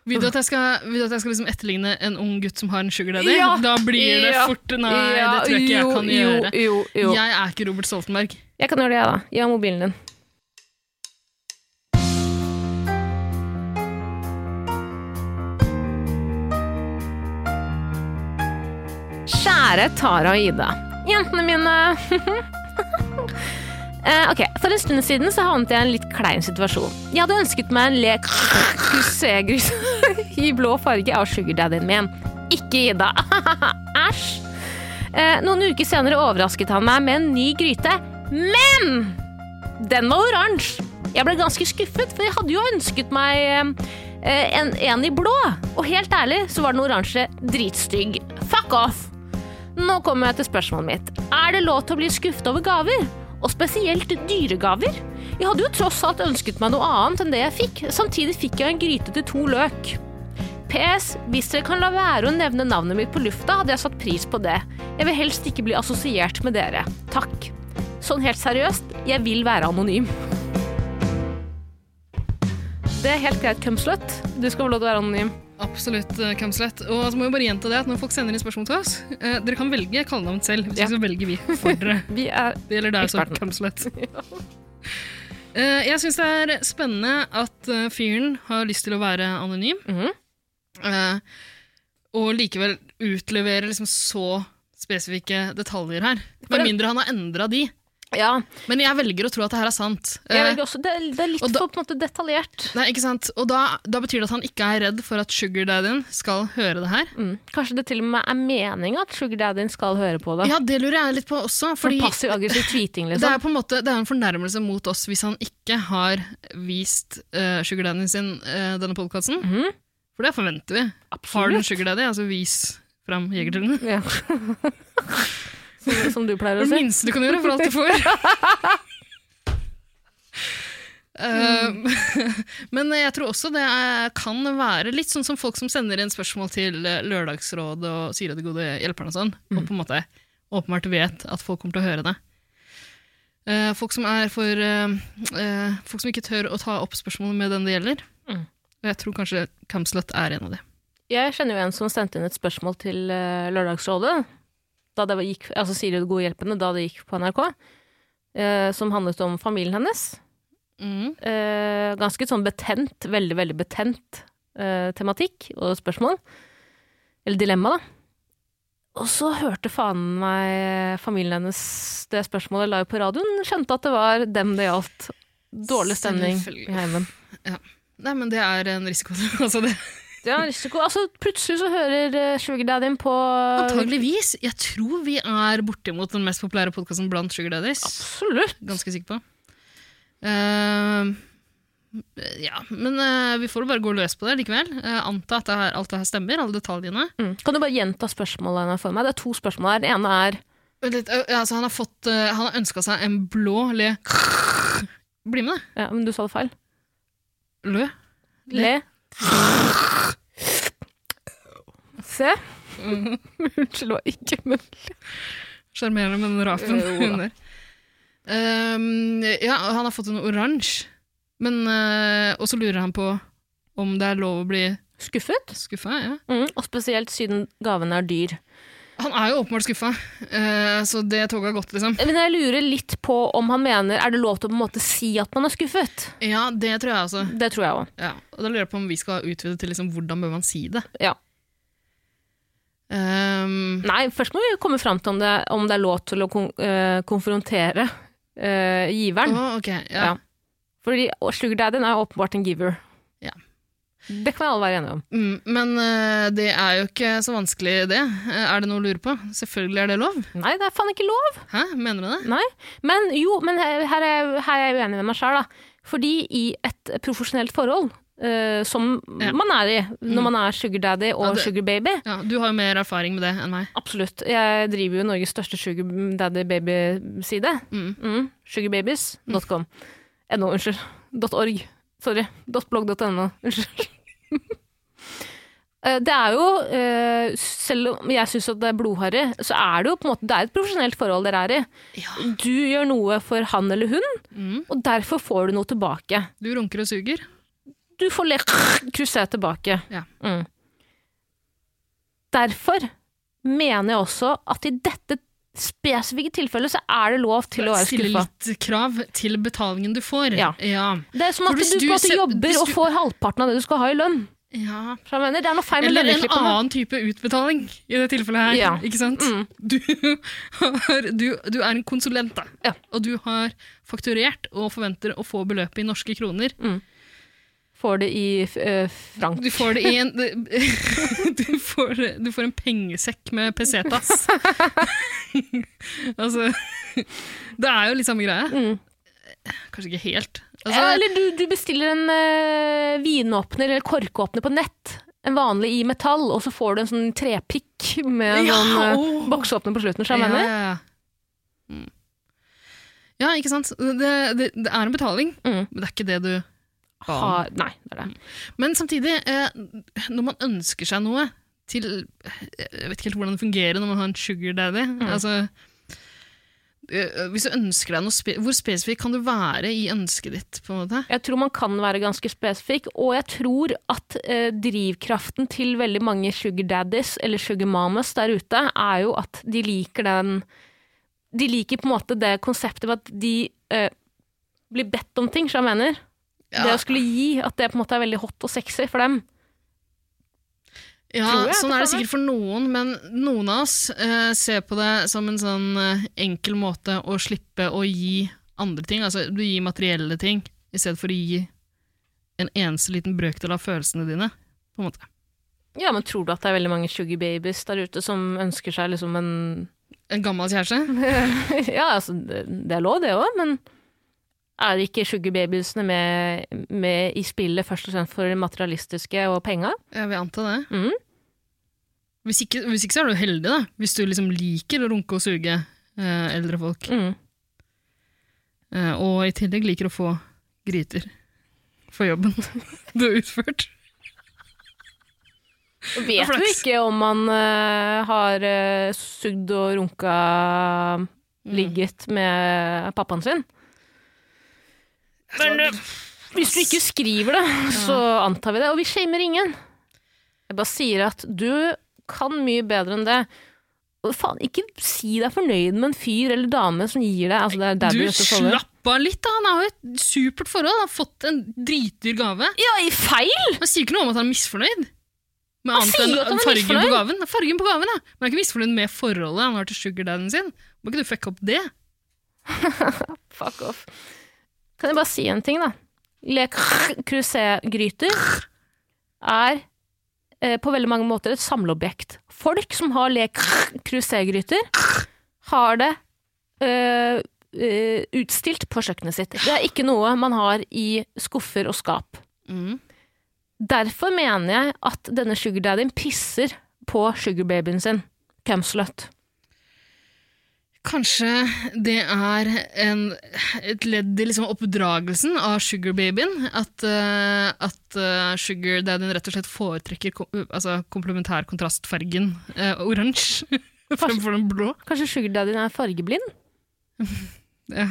Speaker 3: Vil du at jeg skal, vil du at jeg skal liksom etterligne en ung gutt som har en sugar daddy?
Speaker 2: Ja.
Speaker 3: Da blir det
Speaker 2: Ja.
Speaker 3: fort Nei,
Speaker 2: Ja,
Speaker 3: det tror jeg ikke jeg kan
Speaker 2: jo,
Speaker 3: gjøre.
Speaker 2: Jo, jo, jo.
Speaker 3: Jeg er ikke Robert Stoltenberg.
Speaker 2: Jeg kan gjøre det, jeg, da. Gi meg mobilen din. Kjære Tara og Ida. Jentene mine. Eh, ok, For en stund siden så havnet jeg i en litt klein situasjon. Jeg hadde ønsket meg en lek Grusegris i blå farge av sugardaddyen min. Ikke Ida. Æsj. Eh, noen uker senere overrasket han meg med en ny gryte. Men den var oransje. Jeg ble ganske skuffet, for jeg hadde jo ønsket meg eh, en, en i blå. Og helt ærlig så var den oransje dritstygg. Fuck off! Nå kommer jeg til spørsmålet mitt. Er det lov til å bli skuffet over gaver? Og spesielt dyregaver? Jeg hadde jo tross alt ønsket meg noe annet enn det jeg fikk. Samtidig fikk jeg en gryte til to løk. PS. Hvis dere kan la være å nevne navnet mitt på lufta, hadde jeg satt pris på det. Jeg vil helst ikke bli assosiert med dere. Takk. Sånn helt seriøst, jeg vil være anonym. Det er helt greit, cumslut. Du skal få lov til å være anonym.
Speaker 3: Absolutt, eh, Kamslett. Og så må vi bare gjenta det at når folk sender inn spørsmål til oss eh, Dere kan velge kallenavn selv, hvis
Speaker 2: Ja.
Speaker 3: ikke så velger vi for dere.
Speaker 2: Vi er
Speaker 3: Det gjelder deg også,
Speaker 2: Eksperten.
Speaker 3: Kamslett. Eh, Jeg syns det er spennende at eh, fyren har lyst til å være anonym,
Speaker 2: Mhm.
Speaker 3: eh, og likevel utlevere liksom så spesifikke detaljer her.
Speaker 2: For
Speaker 3: Med
Speaker 2: det-
Speaker 3: mindre han har endra de.
Speaker 2: Ja.
Speaker 3: Men jeg velger å tro at det her er sant. Eh,
Speaker 2: Jeg velger også, det, er- det er litt
Speaker 3: og da-
Speaker 2: for på en måte detaljert.
Speaker 3: Nei, ikke sant? Og da, da betyr det at han ikke er redd for at sugardaddyen skal høre det her.
Speaker 2: Mm. Kanskje det til og med er meninga at sugardaddyen skal høre på det.
Speaker 3: Ja, det lurer jeg litt på også, fordi
Speaker 2: Sånn Passiv-aggressiv tweeting,
Speaker 3: det
Speaker 2: liksom.
Speaker 3: er på en måte det er en fornærmelse mot oss hvis han ikke har vist uh, sugardaddyen sin eh, denne podkasten.
Speaker 2: Mhm.
Speaker 3: For det forventer vi. Har du en sugardaddy, altså vis fram jegertøyene.
Speaker 2: liksom. Ja. som, som du pleier å
Speaker 3: Det
Speaker 2: si.
Speaker 3: minste du kan gjøre for alt du får. Eh, men jeg tror også det er, kan være litt sånn som folk som sender inn spørsmål til eh, Lørdagsrådet og sier at det gode hjelperne og sånn, og på en måte åpenbart vet at folk kommer til å høre det. Eh, folk, som er for, eh, eh, folk som ikke tør å ta opp spørsmål med den det gjelder.
Speaker 2: Mm.
Speaker 3: Og jeg tror kanskje Kamslett er en av de.
Speaker 2: Jeg kjenner jo en som sendte inn et spørsmål til eh, Lørdagsrådet, da det var- gikk, altså Siri og de gode hjelpene, da det gikk på NRK, eh, som handlet om familien hennes.
Speaker 3: Mm.
Speaker 2: Eh, ganske sånn betent, veldig, veldig betent eh, tematikk og spørsmål. Eller dilemma, da. Og så hørte faen meg familien hennes det spørsmålet live på radioen, skjønte at det var dem det gjaldt. Dårlig stemning
Speaker 3: Selvfølgelig.
Speaker 2: i heimen.
Speaker 3: Nei, men det er en risiko. altså det
Speaker 2: Det er en risiko. Altså, plutselig så hører uh, sugardaddyen på
Speaker 3: Antageligvis. Jeg tror vi er bortimot den mest populære podkasten blant Sugar Daddies.
Speaker 2: Absolutt!
Speaker 3: Ganske sikker på. Eh, ja, men eh, vi får bare gå løs på det likevel. Eh, anta at det her, alt det her stemmer, alle detaljene.
Speaker 2: Mm. Kan du bare gjenta spørsmålene for meg? Det er to spørsmål her. Det ene er
Speaker 3: Vent litt, eh, altså, han har, fått, eh, han har ønska seg en blå le... Bli med, da.
Speaker 2: ja, Men du sa det feil.
Speaker 3: Lø.
Speaker 2: Le. Se. Mm. Unnskyld, det var ikke men
Speaker 3: Sjarmerende med den rapen
Speaker 2: Jo da.
Speaker 3: under. Ehm, ja, han har fått en oransje, men eh, Og så lurer han på om det er lov å bli
Speaker 2: Skuffet?
Speaker 3: skuffa. Ja.
Speaker 2: Mm. Og spesielt siden gavene er dyr.
Speaker 3: Han er jo åpenbart skuffa, eh, så det toget har gått, liksom.
Speaker 2: Men jeg lurer litt på om han mener Er det lov til å på en måte si at man er skuffet?
Speaker 3: Ja, det tror jeg også.
Speaker 2: Det tror jeg òg.
Speaker 3: Ja. Og da lurer jeg på om vi skal utvide til liksom, hvordan bør man si det.
Speaker 2: Ja.
Speaker 3: Ehm,
Speaker 2: Nei, først må vi komme fram til om det, om det er lov til å kon eh, konfrontere eh, giveren.
Speaker 3: å, ok,
Speaker 2: Ja.
Speaker 3: ja.
Speaker 2: Fordi og sugardaddyen er jo åpenbart en giver.
Speaker 3: Ja.
Speaker 2: Det kan vi alle være enige om.
Speaker 3: Mm, men eh, det er jo ikke så vanskelig, det. Eh, er det noe å lure på? Selvfølgelig er det lov.
Speaker 2: Nei, det er faen ikke lov!
Speaker 3: Hæ, mener du det?
Speaker 2: Nei. Men jo, men her her er jeg, her er jeg uenig med meg sjøl, da. Fordi i et profesjonelt forhold, eh, som
Speaker 3: Ja.
Speaker 2: man er i
Speaker 3: Mm.
Speaker 2: når man er sugar daddy og
Speaker 3: Ja, det-
Speaker 2: sugar baby
Speaker 3: Ja, du har jo mer erfaring med det enn meg.
Speaker 2: Absolutt. Jeg driver jo Norges største sugar daddy baby-side.
Speaker 3: Mm.
Speaker 2: Mm. Sugarbabies.com. No, unnskyld. .org. Sorry. .blogg.no. Unnskyld. Eh, Det er jo, eh, selv om jeg syns at det er blodharry, så er det jo på en måte, det er et profesjonelt forhold dere er i.
Speaker 3: Ja.
Speaker 2: Du gjør noe for han eller hun,
Speaker 3: Mm.
Speaker 2: og derfor får du noe tilbake.
Speaker 3: Du runker og suger.
Speaker 2: du får le krusere tilbake.
Speaker 3: Ja.
Speaker 2: Mm. Derfor mener jeg også at i dette spesifikke tilfellet så er det lov til å være
Speaker 3: Stille
Speaker 2: skuffa.
Speaker 3: litt krav til betalingen du får.
Speaker 2: Ja.
Speaker 3: ja.
Speaker 2: Det er som
Speaker 3: For
Speaker 2: at du,
Speaker 3: hvis
Speaker 2: på
Speaker 3: du
Speaker 2: en måte
Speaker 3: se-
Speaker 2: jobber
Speaker 3: hvis
Speaker 2: og
Speaker 3: du-
Speaker 2: får halvparten av det du skal ha i lønn.
Speaker 3: ja.
Speaker 2: Så jeg mener, Det er noe feil med
Speaker 3: Eller en
Speaker 2: lønneklippene.
Speaker 3: annen type utbetaling i det tilfellet her.
Speaker 2: Ja.
Speaker 3: Ikke sant?
Speaker 2: Mm.
Speaker 3: Du, har, du, du er en konsulent, da.
Speaker 2: Ja.
Speaker 3: Og du har fakturert og forventer å få beløpet i norske kroner.
Speaker 2: Får det i eh, frank.
Speaker 3: Du får det i en Du får, det- du får en pengesekk med pesetas. altså Det er jo litt samme greie.
Speaker 2: Mm.
Speaker 3: Kanskje ikke helt.
Speaker 2: Ja,
Speaker 3: Altså,
Speaker 2: eller du, du bestiller en eh, vinåpner eller korkåpner på nett. En vanlig i metall, og så får du en sånn trepikk med en
Speaker 3: Ja,
Speaker 2: sånn eh,
Speaker 3: åh.
Speaker 2: bokseåpner på slutten. Så jeg mener.
Speaker 3: Ja, ja, ja. Mm. ja, ikke sant. Det, det, det er en betaling,
Speaker 2: Mm.
Speaker 3: men det er ikke det du ba om.
Speaker 2: Ha, nei, det er det.
Speaker 3: Men samtidig, eh, når man ønsker seg noe til Jeg vet ikke helt hvordan det fungerer når man har en sugar daddy.
Speaker 2: Mm.
Speaker 3: Altså, eh, hvis du ønsker deg noe spe Hvor spesifikk kan du være i ønsket ditt? på en måte?
Speaker 2: Jeg tror man kan være ganske spesifikk, og jeg tror at eh, drivkraften til veldig mange sugar daddies eller sugar mamas der ute, er jo at de liker den De liker på en måte det konseptet med at de eh, blir bedt om ting, som jeg mener. Det å skulle gi, at det på en måte er veldig hot og sexy for dem.
Speaker 3: ja
Speaker 2: tror jeg,
Speaker 3: Sånn
Speaker 2: det
Speaker 3: er det
Speaker 2: kan
Speaker 3: sikkert for noen, men noen av oss eh, ser på det som en sånn eh, enkel måte å slippe å gi andre ting. Altså, du gir materielle ting i stedet for å gi en eneste liten brøkdel av følelsene dine. på en måte.
Speaker 2: Ja, men tror du at det er veldig mange sugar babies der ute som ønsker seg liksom en
Speaker 3: En gammel kjæreste?
Speaker 2: Ja, altså, det det er lov det òg, men er ikke sugar babiesene med, med i spillet først og fremst for det materialistiske og penga?
Speaker 3: Jeg vil anta det.
Speaker 2: Mhm.
Speaker 3: Hvis, ikke, hvis ikke så er du heldig, da. Hvis du liksom liker å runke og suge eh, eldre folk.
Speaker 2: Mm.
Speaker 3: Eh, og i tillegg liker å få gryter for jobben du har utført.
Speaker 2: Og Vet
Speaker 3: Flaks.
Speaker 2: vi ikke om man eh, har eh, sugd og runka Mm. ligget med pappaen sin? Men eh, hvis du ikke skriver det, så antar vi det. Og vi shamer ingen. Jeg bare sier at du kan mye bedre enn det. Og faen, ikke si deg fornøyd med en fyr eller dame som gir deg altså det er
Speaker 3: Du
Speaker 2: daddy, vet faller.
Speaker 3: slapp av litt, da. Han har jo et supert forhold. Han har fått en dritdyr gave.
Speaker 2: Ja, i feil!
Speaker 3: Han sier ikke noe om at han er misfornøyd. Med
Speaker 2: Han
Speaker 3: annet
Speaker 2: sier
Speaker 3: enn
Speaker 2: jo at han er
Speaker 3: fargen
Speaker 2: misfornøyd.
Speaker 3: på gaven. Fargen på gaven, ja. Men han er ikke misfornøyd med forholdet han har til sugardadden sin. Må ikke du fucke opp det?
Speaker 2: Fuck off. Kan jeg bare si en ting, da? Le crusé-gryter er eh, på veldig mange måter et samleobjekt. Folk som har le crusé-gryter, har det eh, eh, utstilt på kjøkkenet sitt. Det er ikke noe man har i skuffer og skap.
Speaker 3: Mm.
Speaker 2: Derfor mener jeg at denne sugardaddyen pisser på sugarbabyen sin. Camslut.
Speaker 3: Kanskje det er en, et ledd i liksom oppdragelsen av sugarbabyen. At, eh, at eh, sugardaddyen rett og slett foretrekker kom, altså, komplementær kontrastfargen eh, oransje fremfor den blå.
Speaker 2: Kanskje sugardaddyen er fargeblind?
Speaker 3: Ja,
Speaker 2: Jeg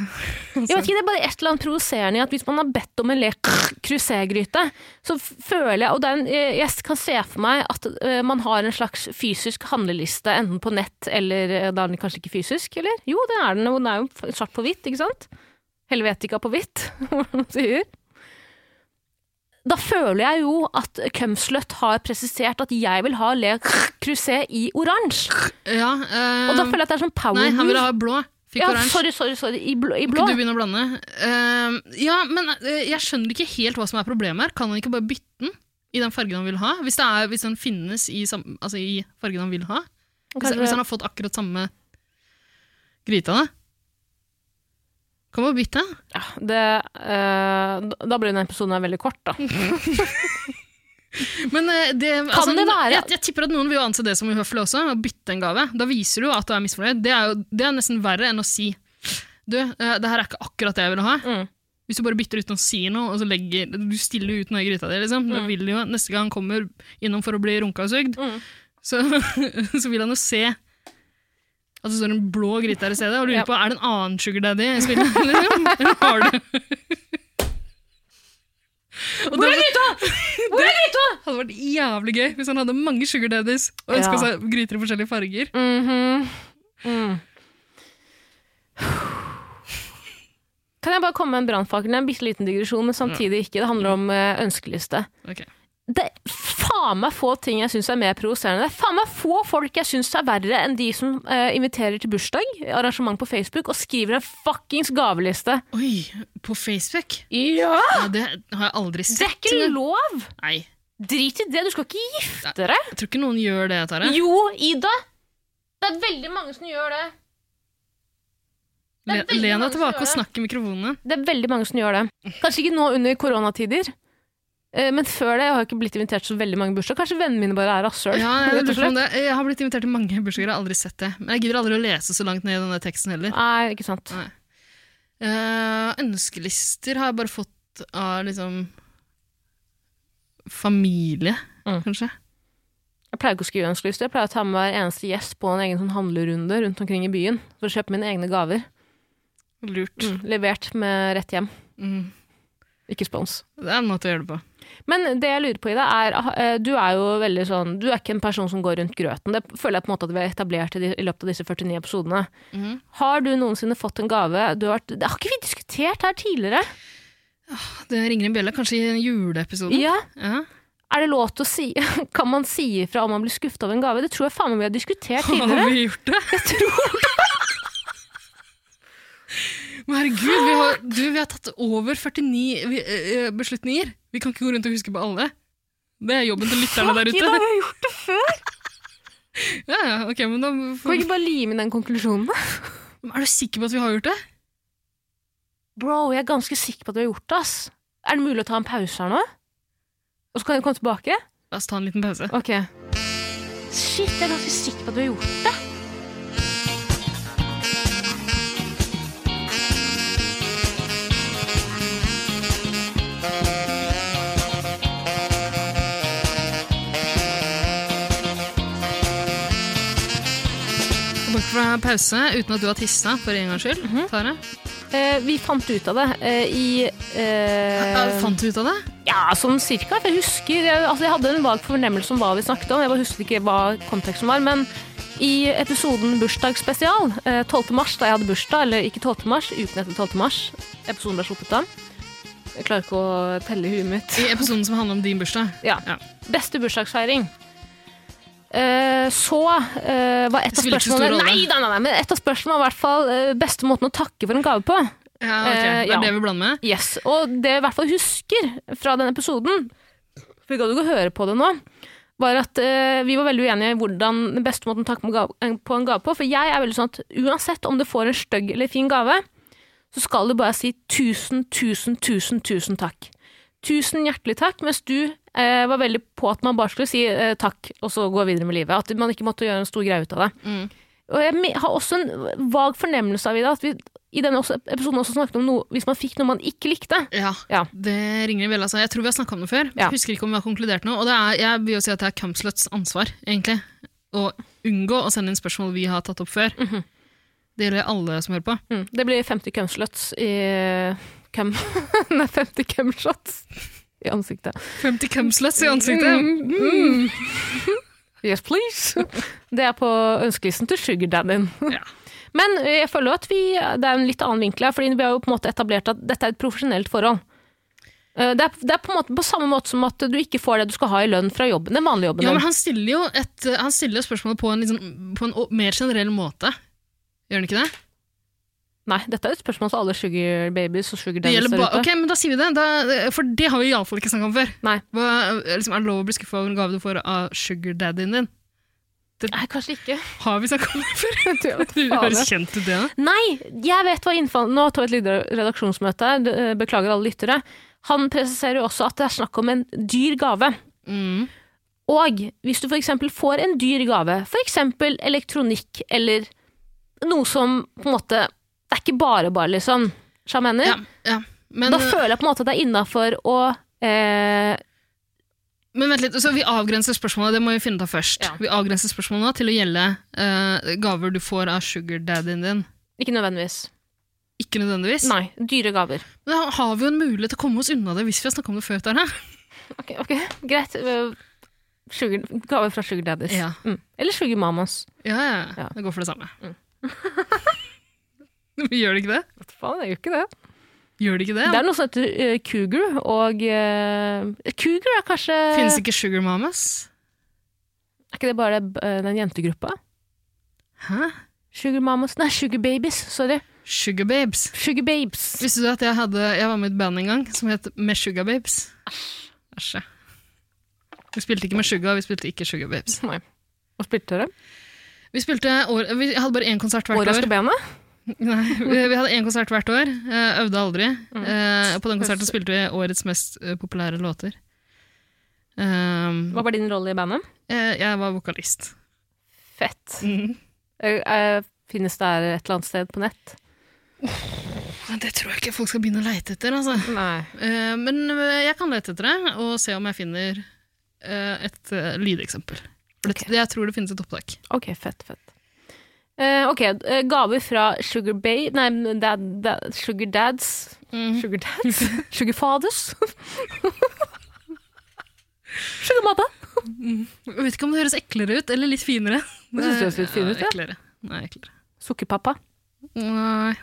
Speaker 2: vet ikke, Det er bare et eller annet provoserende i at hvis man har bedt om en lek krusérgryte, så f- føler jeg Og det er en, eh, jeg kan se for meg at eh, man har en slags fysisk handleliste, enten på nett eller eh, Da er den kanskje ikke fysisk, eller? Jo, det er den, og den er jo f- svart på hvitt, ikke sant? Helvetika på hvitt, hvordan man sier. Da føler jeg jo at Cumslut har presisert at jeg vil ha le crusé i oransje.
Speaker 3: ja eh,
Speaker 2: Og da føler jeg at det er sånn power
Speaker 3: Nei, han ville
Speaker 2: move.
Speaker 3: ha blå. Fikk
Speaker 2: Ja,
Speaker 3: oransje.
Speaker 2: sorry, sorry, sorry. I blå. I
Speaker 3: Kan
Speaker 2: blå.
Speaker 3: ikke du begynne å blande? Eh, ja, men eh, jeg skjønner ikke helt hva som er problemet her. Kan han ikke bare bytte den i den fargen han vil ha? Hvis, det er, hvis den finnes i, sam, altså, i fargen han vil ha? Hvis,
Speaker 2: Kanskje-
Speaker 3: hvis han har fått akkurat samme gryta, da? Kan man bytte?
Speaker 2: Ja, det, eh, da- da blir denne episoden her veldig kort, da.
Speaker 3: Men eh, det, altså,
Speaker 2: det være-
Speaker 3: jeg, jeg tipper at noen vil jo anse det som uhøflig også, å bytte en gave. Da viser du jo at du er misfornøyd. Det er, jo, det er nesten verre enn å si Du, eh, det her er ikke akkurat det jeg ville ha.
Speaker 2: Mm.
Speaker 3: Hvis du bare bytter uten å si noe, og så legger Du stiller jo ut noe i gryta di, liksom. Da vil jo, neste gang han kommer innom for å bli runka og sugd,
Speaker 2: Mm.
Speaker 3: så, så vil han jo se at det står en blå gryte her i stedet, og lurer
Speaker 2: Ja.
Speaker 3: på er det en annen sugar daddy i spillet. Liksom? Eller har du Og
Speaker 2: Hvor
Speaker 3: det
Speaker 2: er
Speaker 3: hadde-
Speaker 2: gryta?! Hvor er gryta?!
Speaker 3: hadde vært jævlig gøy hvis han hadde mange sugar daddies og ønska
Speaker 2: Ja.
Speaker 3: seg gryter i forskjellige farger.
Speaker 2: Mhm. mm. Kan jeg bare komme med en brannfakkel? Det er En bitte liten digresjon, men samtidig ikke. Det handler om eh, ønskeliste.
Speaker 3: Ok.
Speaker 2: Det er faen meg få ting jeg syns er mer provoserende. Det er faen meg få folk jeg syns er verre enn de som eh, inviterer til bursdag, arrangement på Facebook, og skriver en fuckings gaveliste.
Speaker 3: Oi, på Facebook?
Speaker 2: Ja!
Speaker 3: Ja, det har jeg aldri
Speaker 2: Ah! Det er
Speaker 3: sett.
Speaker 2: ikke lov!
Speaker 3: Nei,
Speaker 2: Drit i det, du skal ikke gifte deg!
Speaker 3: jeg tror ikke noen gjør det, Tara.
Speaker 2: Jo, Ida! Det er veldig mange som gjør det. det er
Speaker 3: Le-
Speaker 2: veldig
Speaker 3: Len
Speaker 2: mange
Speaker 3: deg
Speaker 2: som
Speaker 3: tilbake
Speaker 2: gjør
Speaker 3: og snakk i mikrofonene.
Speaker 2: Det er veldig mange som gjør det. Kanskje ikke nå under koronatider, eh, men før det. Jeg har ikke blitt invitert til så veldig mange bursdager. Kanskje vennene mine bare er rasshøl.
Speaker 3: Ja, jeg,
Speaker 2: rett og
Speaker 3: lurer på
Speaker 2: slett.
Speaker 3: om det. jeg har blitt invitert til mange bursdager, jeg har aldri sett det. Men jeg gidder aldri å lese så langt ned i denne teksten heller.
Speaker 2: Nei, ikke sant.
Speaker 3: Nei. Eh, ønskelister har jeg bare fått av liksom familie,
Speaker 2: Mm.
Speaker 3: kanskje.
Speaker 2: Jeg pleier ikke å skrive ønskelyst. Jeg pleier å ta med hver eneste gjest på en egen sånn handlerunde rundt omkring i byen for å kjøpe mine egne gaver. Mm,
Speaker 3: Lurt.
Speaker 2: Levert med rett hjem.
Speaker 3: Mm.
Speaker 2: Ikke spons.
Speaker 3: Det er en måte å gjøre det på.
Speaker 2: Men det jeg lurer på, Ida, er eh, Du er jo veldig sånn Du er ikke en person som går rundt grøten. Det føler jeg på en måte at vi har etablert i, de, i løpet av disse 49 episodene.
Speaker 3: Mhm.
Speaker 2: Har du noensinne fått en gave du har vært Det har ikke vi diskutert her tidligere?
Speaker 3: Det ringer en bjelle, kanskje i juleepisoden?
Speaker 2: Ja.
Speaker 3: Ja.
Speaker 2: Er det lov til å si Kan man si ifra om man blir skuffa av en gave? Det tror jeg faen meg vi har diskutert
Speaker 3: Har
Speaker 2: tidligere.
Speaker 3: vi gjort det? Jeg tror det! Men herregud, vi har, du, vi har tatt over 49 vi- eh, beslutninger. Vi kan ikke gå rundt og huske på alle. Det er jobben til lytterne der
Speaker 2: Ida,
Speaker 3: ute.
Speaker 2: vi har gjort det før!
Speaker 3: Ja, ja, ok, men da
Speaker 2: Kan vi ikke bare lime inn den konklusjonen? da?
Speaker 3: Er du sikker på at vi har gjort det?
Speaker 2: Bro, jeg er ganske sikker på at vi har gjort det, ass. Er det mulig å ta en pause her nå? Og så kan vi komme tilbake?
Speaker 3: La oss ta en liten pause.
Speaker 2: Ok. Shit, jeg er ganske sikker på at vi har gjort det.
Speaker 3: Bort fra pause uten at du har tissa, for en gangs skyld. Tara,
Speaker 2: Eh, vi fant ut av det eh, i eh,
Speaker 3: Eh, fant du ut av det?
Speaker 2: Ja, sånn cirka. For jeg husker jeg, altså jeg hadde en vag fornemmelse om hva vi snakket om. Jeg bare husket ikke hva konteksten var. Men i episoden Bursdagsspesial, eh, 12. mars, da jeg hadde bursdag, eller ikke 12. mars, uken etter 12. mars, episoden ble sluppet da. Jeg klarer ikke å telle i huet mitt.
Speaker 3: I episoden som handler om din bursdag.
Speaker 2: Ja.
Speaker 3: Ja.
Speaker 2: Beste bursdagsfeiring. Eh, så eh, var et av
Speaker 3: Det spiller ikke så stor
Speaker 2: spørsmålene
Speaker 3: rolle.
Speaker 2: Nei, nei, nei, nei, men et av spørsmålene var i hvert fall eh, beste måten å takke for en gave på.
Speaker 3: Ja, ok, Det
Speaker 2: Eh,
Speaker 3: er
Speaker 2: ja.
Speaker 3: det vi blander med.
Speaker 2: Yes, og det jeg i hvert fall husker fra den episoden, for vi kan jo ikke høre på det nå, var at eh, vi var veldig uenige i hvordan den beste måten å takke på ga- på en gave på, for jeg er veldig sånn at uansett om du får en stygg eller fin gave, så skal du bare si tusen, tusen, tusen, tusen takk. Tusen hjertelig takk, mens du eh, var veldig på at man bare skulle si eh, takk, og så gå videre med livet. At man ikke måtte gjøre en stor greie ut av det.
Speaker 3: Mm.
Speaker 2: Og jeg me- har også en vag fornemmelse av, Ida, at vi i denne også- episoden også snakket om noe, hvis man fikk noe man ikke likte.
Speaker 3: Ja.
Speaker 2: Ja.
Speaker 3: Det ringer en bjelle. Altså. Jeg tror vi har snakka om det før.
Speaker 2: Ja.
Speaker 3: Jeg Husker ikke om vi har konkludert noe. Og det er, jeg vil jo si at det er Cumsluts ansvar, egentlig. Å unngå å sende inn spørsmål vi har tatt opp før.
Speaker 2: Mhm.
Speaker 3: Det gjelder alle som hører på.
Speaker 2: Mm. Det blir 50 cumshots i cum... Nei, 50 cumshots i ansiktet.
Speaker 3: 50 Cumsluts i ansiktet!
Speaker 2: Mm, mm. Yes, please! Det er på ønskelisten til sugardaddyen.
Speaker 3: Ja.
Speaker 2: Men eh, jeg føler jo at vi, det er en litt annen vinkel her, fordi vi har jo på en måte etablert at dette er et profesjonelt forhold. Eh, Det er, det er på, en måte, på samme måte som at du ikke får det du skal ha i lønn fra jobben, den vanlige jobben.
Speaker 3: Ja, men
Speaker 2: din.
Speaker 3: han stiller jo et, han stiller jo spørsmålet på en, litt sånn- på en å- mer generell måte. Gjør han ikke det?
Speaker 2: Nei, dette er jo et spørsmål til alle sugar babies og sugar
Speaker 3: det
Speaker 2: daddies
Speaker 3: gjelder
Speaker 2: der
Speaker 3: ba,
Speaker 2: ute.
Speaker 3: ok, men Da sier vi det, da, for det har vi iallfall ikke snakka om før.
Speaker 2: Nei.
Speaker 3: Hva, liksom, er det lov å bli skuffa over en gave du får av sugardaddyen din?
Speaker 2: Nei, kanskje ikke.
Speaker 3: Har vi snakka om det før?
Speaker 2: Jeg tror jeg vet
Speaker 3: Du
Speaker 2: faen,
Speaker 3: høres
Speaker 2: jeg.
Speaker 3: kjent ut, det. da.
Speaker 2: Nei, jeg vet hva innfall... Nå tar vi et lite redaksjonsmøte, d- eh, beklager alle lyttere. Han presiserer jo også at det er snakk om en dyr gave.
Speaker 3: Mm.
Speaker 2: Og hvis du f.eks. får en dyr gave, f.eks. elektronikk eller noe som på en måte Det er ikke bare bare, liksom. Skjønner du hva jeg
Speaker 3: Ja,
Speaker 2: mener?
Speaker 3: ja. Men,
Speaker 2: da føler jeg på en måte at det er innafor å eh,
Speaker 3: men vent litt, så vi avgrenser spørsmålet, det må vi finne ut av først.
Speaker 2: Ja.
Speaker 3: Vi avgrenser spørsmålet nå til å gjelde eh, gaver du får av sugardaddy-en din.
Speaker 2: Ikke nødvendigvis.
Speaker 3: Ikke nødvendigvis.
Speaker 2: Nei, dyre gaver.
Speaker 3: Men da har vi jo en mulighet til å komme oss unna det hvis vi har snakka om det før. Terne.
Speaker 2: Ok, ok, greit. Øh, Sugar, gaver fra Sugar Daddies.
Speaker 3: Ja.
Speaker 2: Mm. Eller Sugar Mamas.
Speaker 3: Ja, ja,
Speaker 2: Ja. Mm.
Speaker 3: ja. Det går for det samme. Vi Gjør det ikke det?
Speaker 2: Hva faen, det er jo ikke det.
Speaker 3: Gjør det ikke det?
Speaker 2: Det er noe som heter øh, Cougar, og øh, Cougar er kanskje
Speaker 3: Finnes ikke Sugar Mamas?
Speaker 2: Er ikke det bare øh, den jentegruppa?
Speaker 3: Hæ?
Speaker 2: Sugar Mamas Nei, Sugar Babies. Sorry.
Speaker 3: Sugar Babes.
Speaker 2: Sugar Babes.
Speaker 3: Visste du at jeg, hadde, jeg var med i et band en gang som het Med Sugar Babes? Æsj. ja. Vi spilte ikke med Sugar, vi spilte ikke Sugar Babes.
Speaker 2: Nei. Hva spilte dere?
Speaker 3: Vi spilte år, vi hadde bare én konsert hvert år.
Speaker 2: Overraske benet?
Speaker 3: Nei, vi, vi hadde én konsert hvert år. eh, øvde aldri.
Speaker 2: Mm.
Speaker 3: Eh, på den konserten spilte vi årets mest eh, populære låter. Ehm,
Speaker 2: Hva var din rolle i bandet?
Speaker 3: eh, jeg var vokalist.
Speaker 2: Fett.
Speaker 3: Mm.
Speaker 2: Øh, øh, Finnes det her et eller annet sted på nett?
Speaker 3: Men Det tror jeg ikke folk skal begynne å leite etter. Altså.
Speaker 2: Nei.
Speaker 3: Eh, men eh, jeg kan lete etter det, og se om jeg finner eh, et eh, lydeksempel. For det,
Speaker 2: Ok.
Speaker 3: Jeg tror det finnes et opptak.
Speaker 2: Ok, fett, fett. Eh, ok, eh, gaver fra Sugar Bay Nei, dad, dad, Sugar Dads Sugar Dads? Mm. Sugar Fathers? sugar Mother?
Speaker 3: Jeg vet ikke om det høres eklere ut, eller litt finere.
Speaker 2: Det synes jeg høres litt fin ut, ja.
Speaker 3: Eklere. Nei, eklere.
Speaker 2: Sukkerpappa.
Speaker 3: Nei.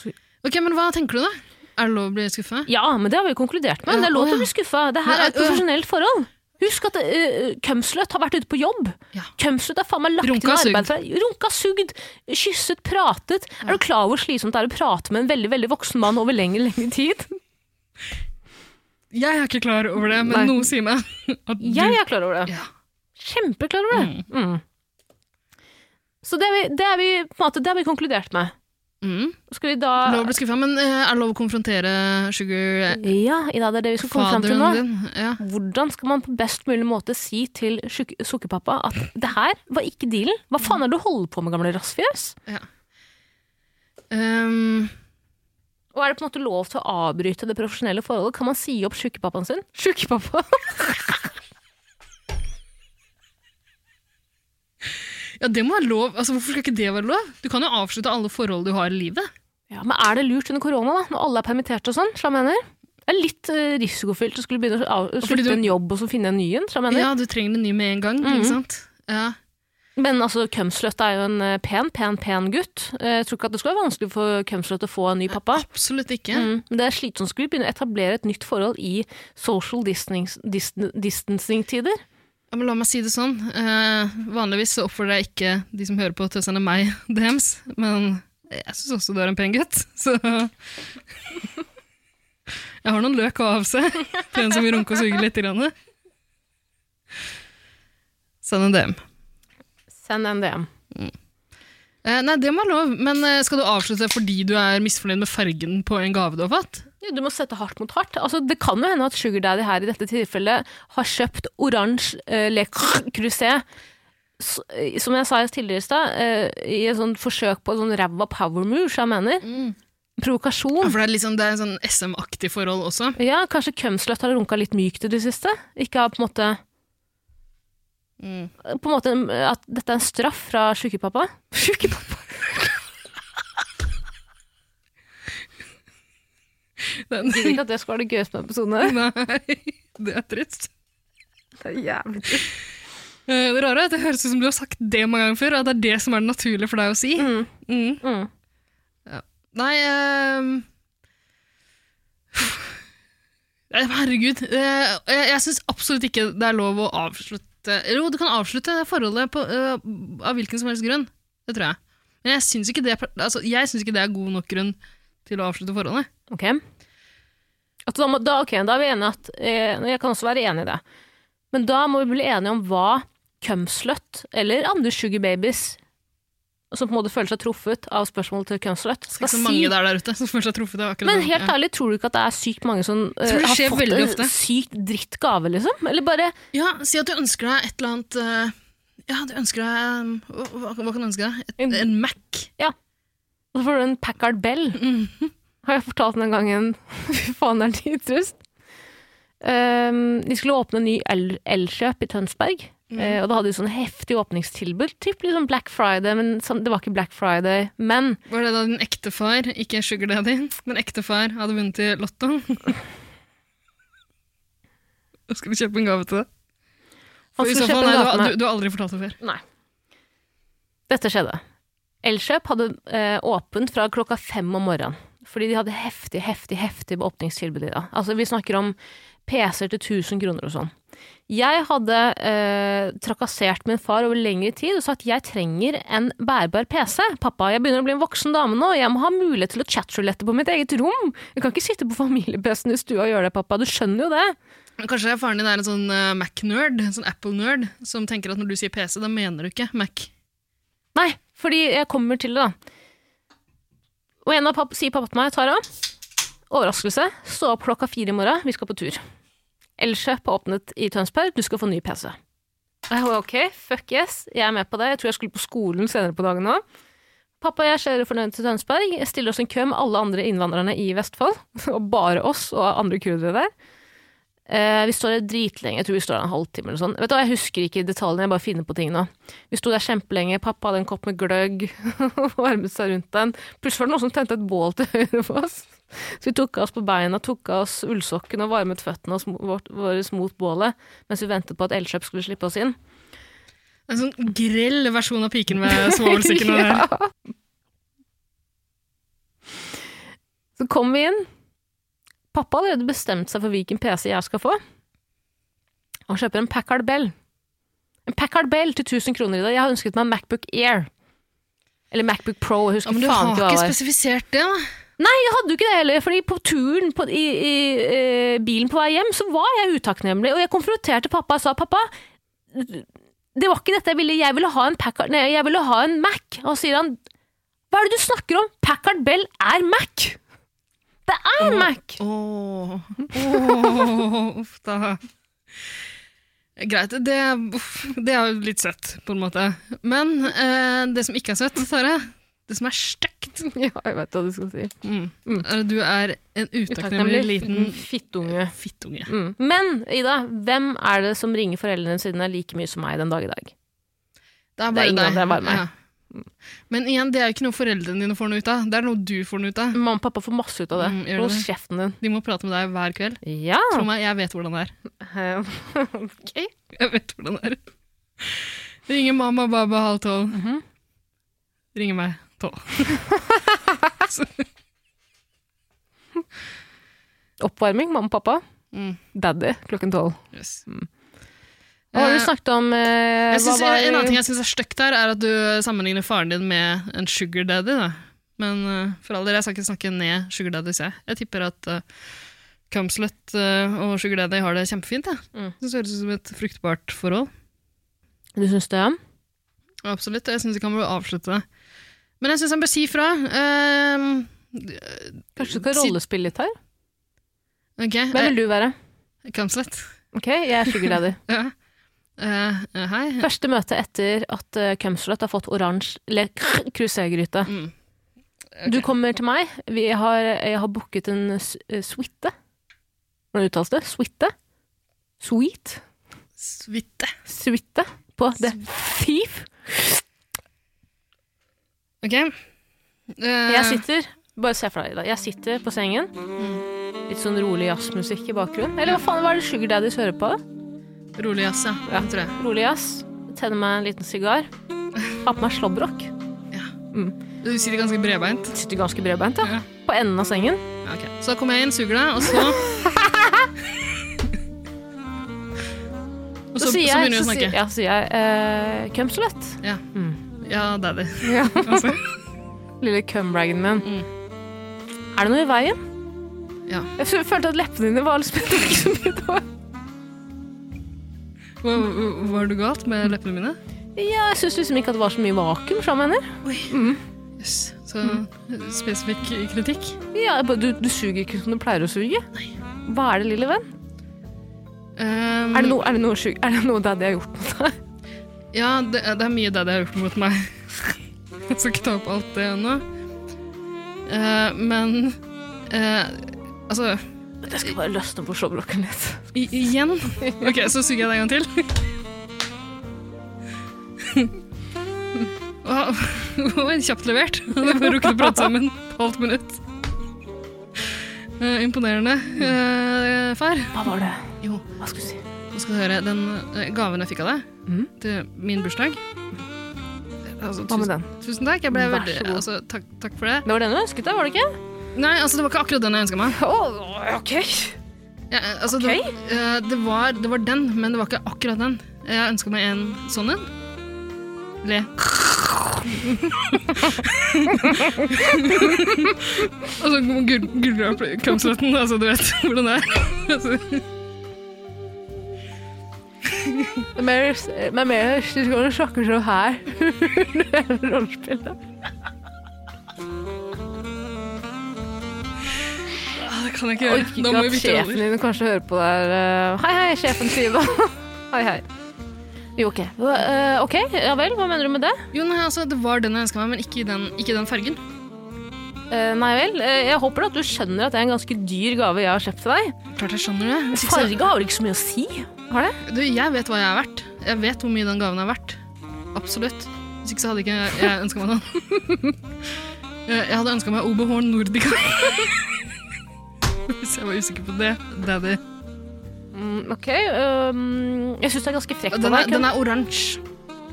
Speaker 2: Su-
Speaker 3: Ok, men hva tenker du da? Er det lov å bli skuffa?
Speaker 2: Ja, men det har vi jo konkludert med. Det er lov til å bli skuffa. Det her er et profesjonelt forhold. Husk at uh, Kømsløt har vært ute på jobb.
Speaker 3: Ja.
Speaker 2: Kømsløt har faen meg lagt
Speaker 3: Runka
Speaker 2: inn arbeid fra Runka sugd, kysset, pratet. Er du klar over hvor slitsomt det er å prate med en veldig veldig voksen mann over lengre, lengre tid?
Speaker 3: Jeg er ikke klar over det, men
Speaker 2: Nei.
Speaker 3: noe sier meg at du
Speaker 2: Jeg er klar over det.
Speaker 3: ja.
Speaker 2: Kjempeklar over det. Mm. Så det er, vi, det, er vi, på en måte, det er vi konkludert med.
Speaker 3: mm.
Speaker 2: Skal vi da
Speaker 3: Lov å bli skuffa, men eh, er det lov å konfrontere sugar eh,
Speaker 2: Ja, Ida, det er det vi skal komme fram til
Speaker 3: faderen
Speaker 2: nå.
Speaker 3: din? Ja.
Speaker 2: Hvordan skal man på best mulig måte si til sjuk- sukkerpappa at det her var ikke dealen? Hva faen er det du holder på med, gamle rassfjøs?
Speaker 3: Ehm,
Speaker 2: Og er det på en måte lov til å avbryte det profesjonelle forholdet? Kan man si opp sjukkepappaen sin? Sjukkepappa?
Speaker 3: ja, det må være lov. Altså, hvorfor skal ikke det være lov? Du kan jo avslutte alle forhold du har i livet.
Speaker 2: Ja, men er det lurt under korona, da? Når alle er permittert og sånn, som jeg mener? Det er litt eh, risikofylt å skulle begynne å av-
Speaker 3: fordi
Speaker 2: slutte
Speaker 3: du-
Speaker 2: en jobb og så finne en ny en, som jeg mener.
Speaker 3: Ja, du trenger en ny med en gang.
Speaker 2: Mhm.
Speaker 3: Ikke sant? Ja.
Speaker 2: Men altså, Kømsløtt er jo en eh, pen, pen, pen gutt. Eh, Jeg tror ikke at det skal være vanskelig for Kømsløtt å få en ny pappa.
Speaker 3: Absolutt ikke.
Speaker 2: Mm. Men det er slitsomt å skulle begynne å etablere et nytt forhold i social distance- distan- distancing-tider.
Speaker 3: Ja, men la meg si det sånn. Eh, vanligvis så oppfordrer jeg ikke de som hører på til å sende meg DMs, men jeg syns også du er en pen gutt, så Jeg har noen løk å avse til en som vil runke og suge litt. Grann. Send en DM.
Speaker 2: Send en DM.
Speaker 3: Eh, nei, det må være lov, men eh, skal du avslutte fordi du er misfornøyd med fargen på en gave du har fått?
Speaker 2: Ja, du må sette hardt mot hardt. Altså, det kan jo hende at Sugar Daddy her i dette tilfellet har kjøpt oransje eh, Le Creuset. S- eh, Som jeg sa tidligere i stad, eh, i et sånt forsøk på en sånn ræva power move, som jeg mener. Provokasjon.
Speaker 3: Ja, for det er, liksom, det er en sånn SM-aktig forhold også.
Speaker 2: Ja, kanskje Kømsløtt har runka litt mykt i det siste. Ikke har på en måte På en måte at dette er en straff fra sjukepappa. Sjukepappa?
Speaker 3: Den,
Speaker 2: Gidder ikke at det skal være det gøyeste med episoden.
Speaker 3: nei, det er trist.
Speaker 2: Det er jævlig trist.
Speaker 3: Eh, Det rare er at det høres ut som du har sagt det mange ganger før, at det er det som er det naturlige for deg å si.
Speaker 2: Mm.
Speaker 3: Mm.
Speaker 2: Mm.
Speaker 3: Nei ehm. Eh, Herregud. eh, Jeg, jeg syns absolutt ikke det er lov å avslutte Jo, du kan avslutte det forholdet på, eh, av hvilken som helst grunn. Det tror jeg. Men jeg syns ikke, det er- altså, jeg synes ikke det er god nok grunn til å avslutte forholdet.
Speaker 2: Ok. At da, må, da, ok, da er vi enige at eh, Jeg kan også være enig i det. Men da må vi bli enige om hva Kømsløtt eller andre Sugar Babies som på en måte føler seg truffet av spørsmålet til Kømsløtt,
Speaker 3: Det er
Speaker 2: skal
Speaker 3: ikke så
Speaker 2: si.
Speaker 3: mange der der ute som føler seg truffet av akkurat
Speaker 2: Men
Speaker 3: det.
Speaker 2: helt
Speaker 3: ja.
Speaker 2: ærlig, tror du ikke at det er sykt mange som eh,
Speaker 3: tror det
Speaker 2: har
Speaker 3: skjer
Speaker 2: fått
Speaker 3: veldig
Speaker 2: en
Speaker 3: ofte.
Speaker 2: sykt drittgave, liksom? Eller bare
Speaker 3: ja, si at du ønsker deg et eller annet eh, Ja, du ønsker deg um, Hva, hva kan du ønske deg?
Speaker 2: En-
Speaker 3: Et, en Mac.
Speaker 2: Så får du en Packard Bell.
Speaker 3: Mm.
Speaker 2: Har jeg fortalt den gangen? Fy faen, Ehm, det er nitrist. Um, de skulle åpne en ny el- elkjøp i Tønsberg.
Speaker 3: Mm.
Speaker 2: Eh, og da hadde de sånn heftig åpningstilbud, typ liksom Black Friday, men sånn, det var ikke Black Friday. Men
Speaker 3: Var det da din ekte far, ikke Sugar Daddy, men ekte far hadde vunnet i Lotto? Og skulle kjøpe en gave til deg?
Speaker 2: han
Speaker 3: For i
Speaker 2: skulle
Speaker 3: så fall,
Speaker 2: kjøpe Altså, en gave
Speaker 3: nei, du,
Speaker 2: til
Speaker 3: har-
Speaker 2: meg.
Speaker 3: du, du har aldri fortalt det før.
Speaker 2: Nei. Dette skjedde. Elkjøp hadde eh, åpent fra klokka fem om morgenen. Fordi de hadde heftig, heftig, heftig åpningstilbud i dag. Altså, vi snakker om PC-er til 1000 kroner og sånn. Jeg hadde eh, trakassert min far over lengre tid og sagt jeg trenger en bærbar PC. Pappa, jeg begynner å bli en voksen dame nå, og jeg må ha mulighet til å chatrulette på mitt eget rom. Jeg kan ikke sitte på familie-PC-en i stua og gjøre det, pappa. Du skjønner jo det.
Speaker 3: Men Kanskje faren din er en sånn eh, Mac-nerd, en sånn Apple-nerd, som tenker at når du sier PC, da mener du ikke Mac.
Speaker 2: Nei, fordi jeg kommer til det, da. Og en av papp, sier pappa til meg, Tara, overraskelse, stå opp klokka fire i morgen, vi skal på tur. Elkjøp har åpnet i Tønsberg, du skal få ny PC. Og jeg var ok, fuck yes, jeg er med på det, jeg tror jeg skulle på skolen senere på dagen nå. Pappa og jeg kjører fornøyd til Tønsberg, jeg stiller oss en kø med alle andre innvandrerne i Vestfold, og bare oss og andre kurdere der. Eh, vi står der dritlenge, jeg tror vi står der en halvtime eller sånn. Vet du hva, jeg husker ikke detaljene, jeg bare finner på ting nå. Vi sto der kjempelenge, pappa hadde en kopp med gløgg og varmet seg rundt den. Plutselig var det noen som tente et bål til høyre for oss. Så vi tok av oss på beina, tok av oss ullsokkene og varmet føttene oss- vårt- våre mot bålet mens vi ventet på at Elkjøp skulle slippe oss inn.
Speaker 3: En sånn grell versjon av piken med svovelstikkene. der.
Speaker 2: Så kom vi inn. Pappa har allerede bestemt seg for hvilken PC jeg skal få. Han kjøper en Packard Bell. En Packard Bell til 1000 kroner i dag. Jeg har ønsket meg en Macbook Air. Eller Macbook Pro. Jeg
Speaker 3: Ja,
Speaker 2: husker
Speaker 3: men du
Speaker 2: faen
Speaker 3: har
Speaker 2: ikke hva
Speaker 3: ikke
Speaker 2: det var.
Speaker 3: spesifisert det, da.
Speaker 2: Jeg hadde jo ikke det heller, fordi på turen på, i, i eh, bilen på vei hjem, så var jeg utakknemlig, og jeg konfronterte pappa og sa pappa, det var ikke dette jeg ville, jeg ville ha en Packard, nei, jeg ville ha en Mac. Og så sier han, hva er det du snakker om? Packard Bell er Mac! Det er Mac!
Speaker 3: Åh, åh, uff da. Greit, det, uff, det er jo litt søtt, på en måte. Men eh, det som ikke er søtt, Tare, det som er stygt,
Speaker 2: Ja, jeg vet hva du skal si.
Speaker 3: mm,
Speaker 2: Mm.
Speaker 3: er at du er en utakknemlig liten
Speaker 2: fittunge.
Speaker 3: fittunge.
Speaker 2: Mm. Men, Ida, hvem er det som ringer foreldrene sine like mye som meg den dag i dag?
Speaker 3: Det er
Speaker 2: Det
Speaker 3: bare
Speaker 2: er ingen
Speaker 3: deg.
Speaker 2: andre, det er bare meg.
Speaker 3: Ja. Men igjen, det er jo ikke noe foreldrene dine får noe ut av. Det er noe du får noe ut av.
Speaker 2: Mamma og pappa får masse ut av det.
Speaker 3: Mm, gjør
Speaker 2: Hold
Speaker 3: det?
Speaker 2: kjeften din.
Speaker 3: De må prate med deg hver kveld.
Speaker 2: Ja.
Speaker 3: Tro meg, jeg vet hvordan det er.
Speaker 2: ok.
Speaker 3: Jeg vet hvordan det er. Ringer mamma og baba halv tolv.
Speaker 2: Mhm.
Speaker 3: Ringer meg tolv. Så-
Speaker 2: Oppvarming, mamma og pappa.
Speaker 3: mm,
Speaker 2: Daddy klokken tolv.
Speaker 3: yes.
Speaker 2: Hva har
Speaker 3: Mm. Eh,
Speaker 2: du snakket om? eh,
Speaker 3: Jeg
Speaker 2: hva
Speaker 3: synes,
Speaker 2: var-
Speaker 3: en annen ting jeg syns er stygt her, er at du sammenligner faren din med en sugar daddy. Da. Men eh, for all del, jeg skal ikke snakke ned sugar daddies, jeg. Jeg tipper at uh, Cumslut og sugar daddy har det kjempefint. Jeg.
Speaker 2: Mm.
Speaker 3: Det høres ut som et fruktbart forhold.
Speaker 2: Du syns det?
Speaker 3: Absolutt, og jeg syns ikke han bør avslutte det. Men jeg syns han bør si fra. Ehm,
Speaker 2: Kanskje du skal
Speaker 3: Si- Eh.
Speaker 2: rollespille litt her?
Speaker 3: ok,
Speaker 2: Hvem vil du være?
Speaker 3: eh, Kamslett.
Speaker 2: Ok, jeg er sugar daddy.
Speaker 3: Ja. Eh, eh, hei.
Speaker 2: Første møte etter at uh, Cumslet har fått oransje eller kruségryte.
Speaker 3: Mm.
Speaker 2: Du kommer til meg. Vi har, jeg har booket en s- eh, suite. Hvordan uttales det? Suite? Sweet?
Speaker 3: Suite.
Speaker 2: Suite på The Thief.
Speaker 3: Ok. Eh,
Speaker 2: Jeg sitter Bare se for deg, Ida. Jeg sitter på sengen. Litt sånn rolig jazzmusikk i bakgrunnen. Eller hva faen var det Sugar Daddies hører på?
Speaker 3: Rolig jazz, ja.
Speaker 2: Ja.
Speaker 3: Det tror jeg.
Speaker 2: Rolig jazz. Tenner meg en liten sigar. Har på meg slåbrok.
Speaker 3: Du sitter ganske bredbeint.
Speaker 2: Sitter ganske bredbeint, ja.
Speaker 3: Ja.
Speaker 2: På enden av sengen.
Speaker 3: Ja, ok. Så da kommer jeg inn, suger deg, og så Og så, så,
Speaker 2: sier jeg-
Speaker 3: begynner vi å
Speaker 2: så sier-
Speaker 3: snakke.
Speaker 2: Ja, så sier jeg eh, Cumslet.
Speaker 3: Ja, daddy.
Speaker 2: Ja.
Speaker 3: Altså,
Speaker 2: Lille cumbragen min.
Speaker 3: Mm.
Speaker 2: Er det noe i veien?
Speaker 3: Ja.
Speaker 2: Jeg f- følte at leppene dine var litt spent ikke så mye det var.
Speaker 3: hva, hva- var det galt med leppene mine?
Speaker 2: Ja, jeg syns liksom ikke at det var så mye vakuum fra mener.
Speaker 3: Yes. Så spesifikk kritikk.
Speaker 2: Ja, jeg bare, du, du suger ikke som du pleier å suge. Hva er det, lille venn?
Speaker 3: Um,
Speaker 2: Er det noe, er det noe, sug- er det noe daddy har gjort mot deg?
Speaker 3: Ja, det, det er mye daddy har gjort mot meg. Jeg skal ikke ta opp alt det ennå. Eh, men eh, altså
Speaker 2: Jeg skal bare løsne på slåbroken litt.
Speaker 3: i, igjen OK, så suger jeg det en gang til. Ja, kjapt levert. Vi bruker å prate sammen på halvt minutt. Eh, imponerende, eh, far.
Speaker 2: Hva var det?
Speaker 3: Jo,
Speaker 2: Hva skulle du si?
Speaker 3: nå skal du høre den eh, gaven jeg fikk av deg
Speaker 2: Mm.
Speaker 3: til min bursdag. Altså,
Speaker 2: Hva med
Speaker 3: tusen,
Speaker 2: den?
Speaker 3: tusen takk. Jeg ble
Speaker 2: Vær
Speaker 3: veldig,
Speaker 2: så god.
Speaker 3: altså, takk, takk for det.
Speaker 2: Det var den du ønsket deg, var det ikke?
Speaker 3: Nei, altså, det var ikke akkurat den jeg ønska meg.
Speaker 2: Å, ok.
Speaker 3: Ja, eh, altså,
Speaker 2: Ok.
Speaker 3: det, var, eh, det, var, det var den, men det var ikke akkurat den. Jeg ønska meg en sånn en. Le. Og så gurgler jeg opp kramsvetten. Altså, du vet hvordan det er. Altså,
Speaker 2: Mer, men mer sysikoner snakker sånn her. Det er rollespillet.
Speaker 3: det kan jeg
Speaker 2: Jeg
Speaker 3: ikke gjøre.
Speaker 2: orker
Speaker 3: Da
Speaker 2: ikke
Speaker 3: må
Speaker 2: at
Speaker 3: vi bytte
Speaker 2: sjefen
Speaker 3: roller.
Speaker 2: din kanskje hører på der. eh, Hei, hei, sjefen sier da. Hei, hei. Jo, ok. Eh, ok, ja vel, hva mener du med det?
Speaker 3: Jo, nei, altså, det var den jeg ønska meg, men ikke den, ikke den fargen.
Speaker 2: Eh, nei vel, eh, jeg håper at du skjønner at det er en ganske dyr gave jeg har kjøpt til deg.
Speaker 3: Klart jeg skjønner det. Hvis ikke så-
Speaker 2: Farge har vel ikke så mye å si? Har det?
Speaker 3: Du, jeg vet hva jeg er verdt. Jeg vet hvor mye den gaven er verdt. Absolutt. Hvis ikke så hadde ikke jeg ønska meg den. jeg hadde ønska meg Oberhorn Nordica. Hvis jeg var usikker på det. Daddy.
Speaker 2: Mm, ok, ehm, jeg syns det er ganske frekt av
Speaker 3: Den er,
Speaker 2: deg.
Speaker 3: den
Speaker 2: Den,
Speaker 3: er oransje.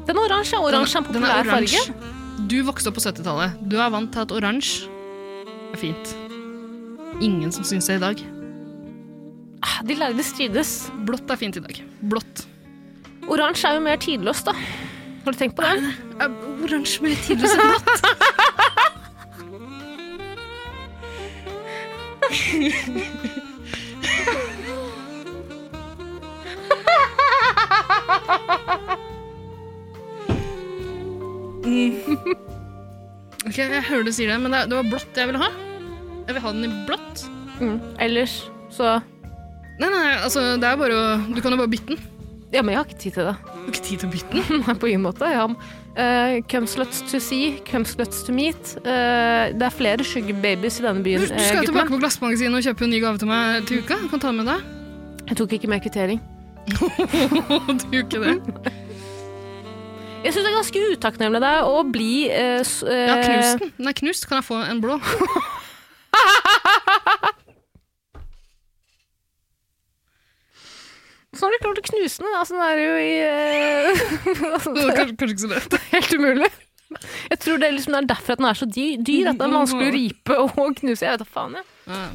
Speaker 2: den oransje er oransje er en
Speaker 3: Den er
Speaker 2: populær
Speaker 3: oransje.
Speaker 2: farge.
Speaker 3: Du vokste opp på 70-tallet. Du er vant til at oransje er fint. Ingen som syns det i dag.
Speaker 2: Ah, De lærde strides.
Speaker 3: Blått er fint i dag. Blått.
Speaker 2: Oransje er jo mer tidløst, da. Har du tenkt på det?
Speaker 3: Er Oransje mer tidløs enn blått. Ok, jeg hører du sier det, men det, det var blått jeg ville ha. Jeg vil ha den i blått.
Speaker 2: Mm. Ellers så
Speaker 3: Nei, nei, altså, det er bare å Du kan jo bare bytte den.
Speaker 2: Ja, men jeg har ikke tid til det.
Speaker 3: Du har ikke tid til å bytte den.
Speaker 2: Nei, på ingen måte. Ja. Uh, Cumsluts to see, cumsluts to meet. Eh, det er flere sugar babies i denne byen.
Speaker 3: Du skal
Speaker 2: eh,
Speaker 3: jo
Speaker 2: gutter.
Speaker 3: tilbake på Glassmagasinet og kjøpe en ny gave til meg til uka. Du kan ta den med deg.
Speaker 2: Jeg tok ikke med kvittering.
Speaker 3: du gjorde ikke det.
Speaker 2: Jeg syns det er ganske utakknemlig av deg å bli eh, s- eh,
Speaker 3: Ja, knust den. Den er knust. Kan jeg få en blå?
Speaker 2: Så sånn har du klart å knuse den. Altså, den er jo i eh, altså,
Speaker 3: Det
Speaker 2: det
Speaker 3: var kanskje, kanskje ikke så lett.
Speaker 2: er Helt umulig. Jeg tror det er, liksom, det er derfor at den er så dy- dyr, at den er vanskelig å ripe og knuse. Jeg vet da faen, jeg.
Speaker 3: Ja.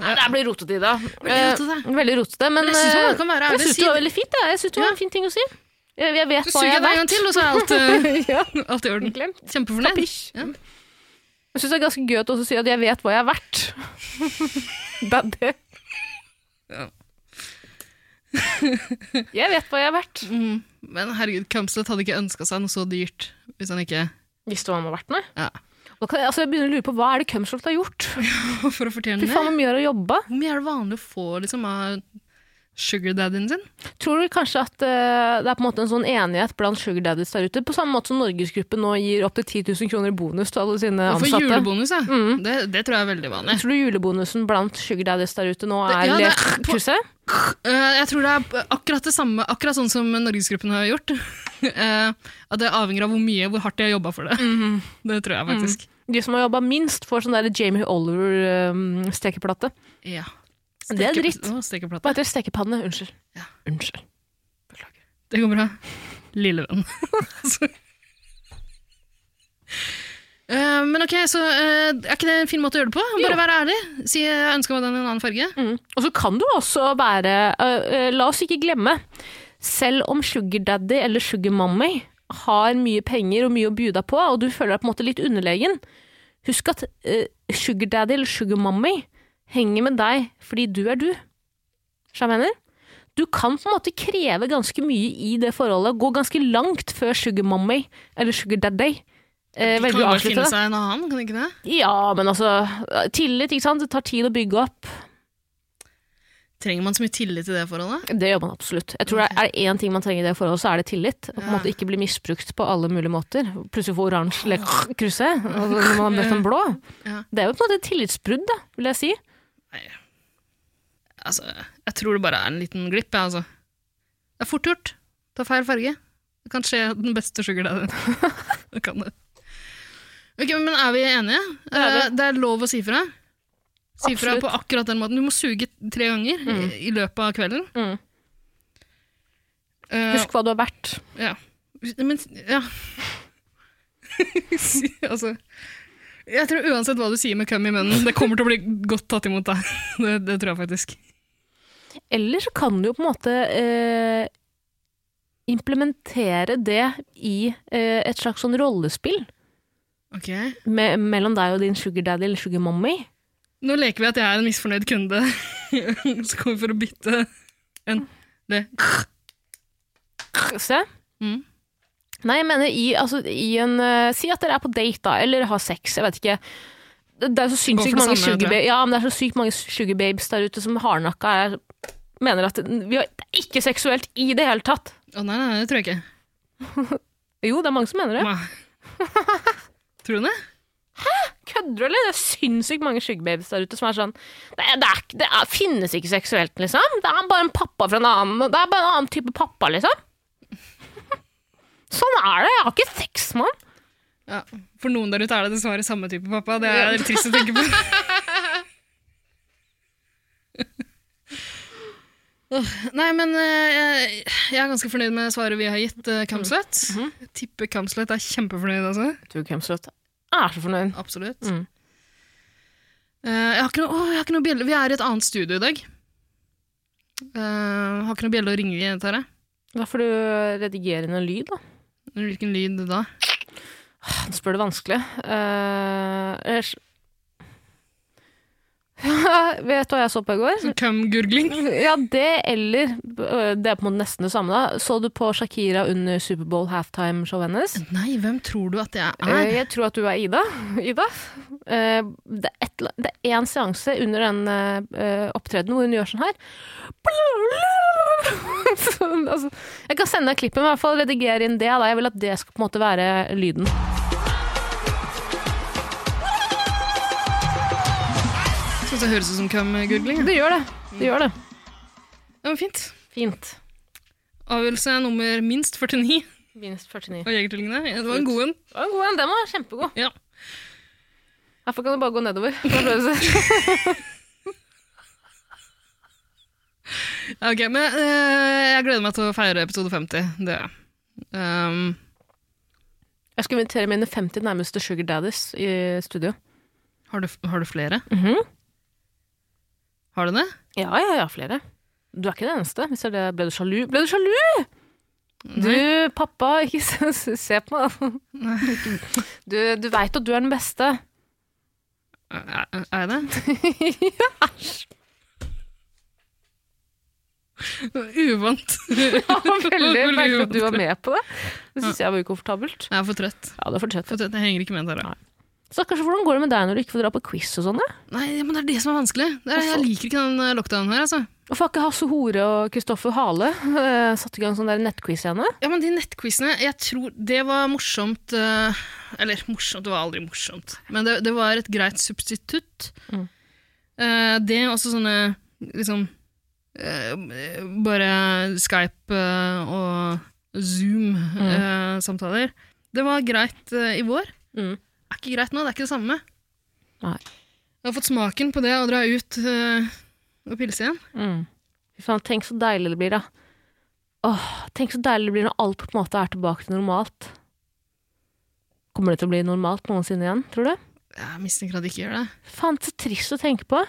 Speaker 2: Nei, det her blir rotete, Ida.
Speaker 3: Veldig rotete.
Speaker 2: Eh, veldig rotete. Men
Speaker 3: Jeg syns
Speaker 2: eh,
Speaker 3: det kan være
Speaker 2: jeg
Speaker 3: ærlig.
Speaker 2: syns
Speaker 3: Si
Speaker 2: det var veldig fint. jeg. Jeg syns det var en fin ting å si. Jeg, jeg vet
Speaker 3: Så
Speaker 2: hva
Speaker 3: suger jeg
Speaker 2: jeg
Speaker 3: deg en gang
Speaker 2: vet.
Speaker 3: til, og så er alt, eh,
Speaker 2: ja,
Speaker 3: alt i orden.
Speaker 2: glemt.
Speaker 3: Kjempefornøyd.
Speaker 2: Kapisj.
Speaker 3: Ja.
Speaker 2: Jeg syns det er ganske gøy at du også sier at jeg vet hva jeg er verdt. det er det.
Speaker 3: Ja.
Speaker 2: jeg vet hva jeg er verdt.
Speaker 3: Mm. Men herregud, Kamslet hadde ikke ønska seg noe så dyrt hvis han ikke
Speaker 2: Visste du hva han var verdt, nei?
Speaker 3: Ja.
Speaker 2: Da kan jeg, altså, jeg begynner å lure på hva er det Cumsholt har gjort?
Speaker 3: For å fortjene
Speaker 2: Fy
Speaker 3: det.
Speaker 2: faen, hvor mye har å jobbe?
Speaker 3: Hvor mye er det vanlig å få liksom, av sugardaddyen sin?
Speaker 2: Tror du kanskje at eh, det er på en måte en sånn enighet blant sugar daddies der ute? På samme måte som Norgesgruppen nå gir opptil 10 000 kroner i bonus til alle sine
Speaker 3: Og få
Speaker 2: ansatte.
Speaker 3: julebonus, ja.
Speaker 2: Mm.
Speaker 3: Det, det tror jeg er veldig vanlig.
Speaker 2: Jeg tror du julebonusen blant sugar daddies der ute nå
Speaker 3: Det-
Speaker 2: er
Speaker 3: ja, det er
Speaker 2: litt-
Speaker 3: på-
Speaker 2: Kusse?
Speaker 3: Eh, jeg tror det er akkurat det samme, akkurat sånn som Norgesgruppen har gjort. Eh, at det avhenger av hvor mye, hvor hardt de har jobba for det. Det tror jeg faktisk.
Speaker 2: De som har jobba minst, får sånn der Jamie eh, Oliver-stekeplate.
Speaker 3: Ja.
Speaker 2: Det er
Speaker 3: Steke-
Speaker 2: dritt.
Speaker 3: Å, stekeplate.
Speaker 2: Hva heter det? Stekepanne? Unnskyld.
Speaker 3: Ja.
Speaker 2: Unnskyld.
Speaker 3: Det går bra. Lille venn. Altså. Eh, men ok, så eh, er ikke det en fin måte å gjøre det på? Bare
Speaker 2: Jo.
Speaker 3: være ærlig. Si eh, jeg ønsker meg den i en annen farge.
Speaker 2: Mm. Og så kan du også være øh, øh, La oss ikke glemme, selv om Sugar Daddy eller Sugar Mommy har mye penger og mye å bjuda på, og du føler deg på en måte litt underlegen, husk at øh, Sugar Daddy eller Sugar Mommy henger med deg fordi du er du. Skjønner jeg mener? Du kan på en måte kreve ganske mye i det forholdet, gå ganske langt før Sugar Mommy eller Sugar Daddy eh,
Speaker 3: De kan
Speaker 2: velger
Speaker 3: jo
Speaker 2: å
Speaker 3: bare
Speaker 2: avslutte
Speaker 3: finne
Speaker 2: det.
Speaker 3: seg en annen, kan de ikke det?
Speaker 2: Ja, men altså Tillit, ikke sant? Det tar tid å bygge opp.
Speaker 3: Trenger man så mye tillit til det forholdet?
Speaker 2: Det gjør man absolutt. Jeg tror det Er det én ting man trenger i det forholdet, så er det tillit. På en måte Ikke bli misbrukt på alle mulige måter. Plutselig få oransje eller krusse, og så når man har møtt en blå.
Speaker 3: Ja.
Speaker 2: Det er jo på en måte et tillitsbrudd, da, vil jeg si.
Speaker 3: Altså, jeg tror det bare er en liten glipp, jeg, altså. Det er fort gjort. Ta feil farge. Det kan skje den beste sugar daddy. det kan det. Ok, men Er vi enige?
Speaker 2: Det er
Speaker 3: Eh, Det er lov å si fra. Si fra
Speaker 2: Absolutt.
Speaker 3: på akkurat den måten. Du må suge tre ganger
Speaker 2: Mm.
Speaker 3: i- i løpet av kvelden.
Speaker 2: Mm.
Speaker 3: Eh,
Speaker 2: Husk hva du har vært.
Speaker 3: Ja. Men ja. Si- altså Jeg tror uansett hva du sier med køm i munnen, det kommer til å bli godt tatt imot deg. Det, det tror jeg faktisk.
Speaker 2: Eller så kan du jo på en måte eh, implementere det i eh, et slags sånn rollespill
Speaker 3: Ok.
Speaker 2: me mellom deg og din sugar daddy eller sugar mommy.
Speaker 3: Nå leker vi at jeg er en misfornøyd kunde som kommer for å bytte en det.
Speaker 2: Se.
Speaker 3: Mm.
Speaker 2: Nei, jeg mener i, altså, i en eh, Si at dere er på date, da, eller har sex, jeg vet ikke. Det det er så
Speaker 3: Går
Speaker 2: sinnssykt
Speaker 3: for det
Speaker 2: mange
Speaker 3: samme, tror jeg.
Speaker 2: sugarbabes ja, men det er så sykt mange sugarbabes der ute som hardnakka er Mener at vi har, det er ikke seksuelt i det hele tatt.
Speaker 3: Å nei, nei, det tror jeg ikke.
Speaker 2: Jo, det er mange som mener det.
Speaker 3: Nei. Tror du det?
Speaker 2: Kødder du, eller? Det er sinnssykt mange sugarbabes der ute som er sånn Det, er, det, er, ikke- det er, finnes ikke seksuelt, liksom. Det er bare en pappa fra en annen Det er bare en annen type pappa, liksom. Sånn er det. Jeg har ikke sex med han.
Speaker 3: Ja. For noen der ute er det dessverre samme type pappa. Det er trist å tenke på. Åh, Nei, men eh, jeg, jeg er ganske fornøyd med svaret vi har gitt uh, Kamslett. Jeg Tipper Kamslett er kjempefornøyd, altså.
Speaker 2: Jeg tror Kremsrødt er så fornøyd.
Speaker 3: Absolutt.
Speaker 2: Mm.
Speaker 3: Eh, jeg, har ikke noe, åh, jeg har ikke noe bjelle. Vi er i et annet studio i dag. Eh, har ikke noe bjelle å ringe i, Tare.
Speaker 2: Da får du redigere noe lyd, da.
Speaker 3: Hvilken lyd da?
Speaker 2: Han spør det vanskelig. Eh, ellers- Vet du hva jeg så på i går?
Speaker 3: Sånn Kømgurgling.
Speaker 2: Ja, det eller øh, Det er på en måte nesten det samme, da. Så du på Shakira under Superbowl halftime-showet hennes?
Speaker 3: Nei, hvem tror du at jeg er?
Speaker 2: Eh, Jeg tror at du er Ida. Ida. Eh, Det er, et, eller annet- det er én seanse under den eh, opptredenen hvor hun gjør sånn her. Sånn, altså, jeg kan sende deg klippet, men i hvert fall redigere inn det. Da. Jeg vil at det skal på en måte være lyden.
Speaker 3: Synes det høres ut Sånn som kømgurgling. ja.
Speaker 2: Det gjør det. Det gjør det.
Speaker 3: Det var fint.
Speaker 2: Fint.
Speaker 3: Avgjørelse nummer minst 49
Speaker 2: Minst 49.
Speaker 3: av Jegertvillingene. Ja, Det var en god en.
Speaker 2: Det var en god en. Den var kjempegod.
Speaker 3: Ja.
Speaker 2: Herfor kan du bare gå nedover. Da blir det så-
Speaker 3: Ja, Ok, men eh, jeg gleder meg til å feire episode 50. Det gjør jeg. Ehm,
Speaker 2: Jeg skal invitere mine 50 nærmeste Sugar Daddies i studio.
Speaker 3: har, du, har du flere?
Speaker 2: Mhm.
Speaker 3: Har du det?
Speaker 2: Ja, ja, ja, flere. Du er ikke den eneste. Hvis det er det. Ble du sjalu? Ble du sjalu? Du, pappa, ikke se, se på meg. Du, du veit at du er den beste.
Speaker 3: Er, er jeg det? Uvant.
Speaker 2: Det var veldig
Speaker 3: Hvor
Speaker 2: merkelig
Speaker 3: mye
Speaker 2: at du var med på det. Det syns jeg var ukomfortabelt.
Speaker 3: Jeg er for trøtt.
Speaker 2: Ja, det fortsetter.
Speaker 3: For trøtt. Jeg henger ikke med dere.
Speaker 2: Stakkars, hvordan går det med deg når du ikke får dra på quiz og sånn? ja?
Speaker 3: Nei, men det er det som er vanskelig. Det er, jeg
Speaker 2: Hvorfor?
Speaker 3: liker ikke den eh, lockdownen her, altså.
Speaker 2: Og fakke Hasse Hore og Kristoffer Hale eh, satte i gang sånn der nettquiz igjen. ja.
Speaker 3: Ja, men de nettquizene, jeg tror det var morsomt eh, Eller morsomt, det var aldri morsomt. Men det, det var et greit substitutt.
Speaker 2: Mm.
Speaker 3: Eh, det og også sånne liksom eh, Bare Skype eh, og Zoom-samtaler. det var greit eh, i vår.
Speaker 2: Mm.
Speaker 3: Er ikke greit nå, det er ikke det samme.
Speaker 2: Nei.
Speaker 3: Jeg har fått smaken på det å dra ut eh, og pilse igjen.
Speaker 2: Mm. Fy faen, tenk så deilig det blir, da. Åh, tenk så deilig det blir når alt på en måte er tilbake til normalt. Kommer det til å bli normalt noensinne igjen, tror du?
Speaker 3: Jeg mistenker at de ikke gjør det.
Speaker 2: Faen, så trist å tenke på.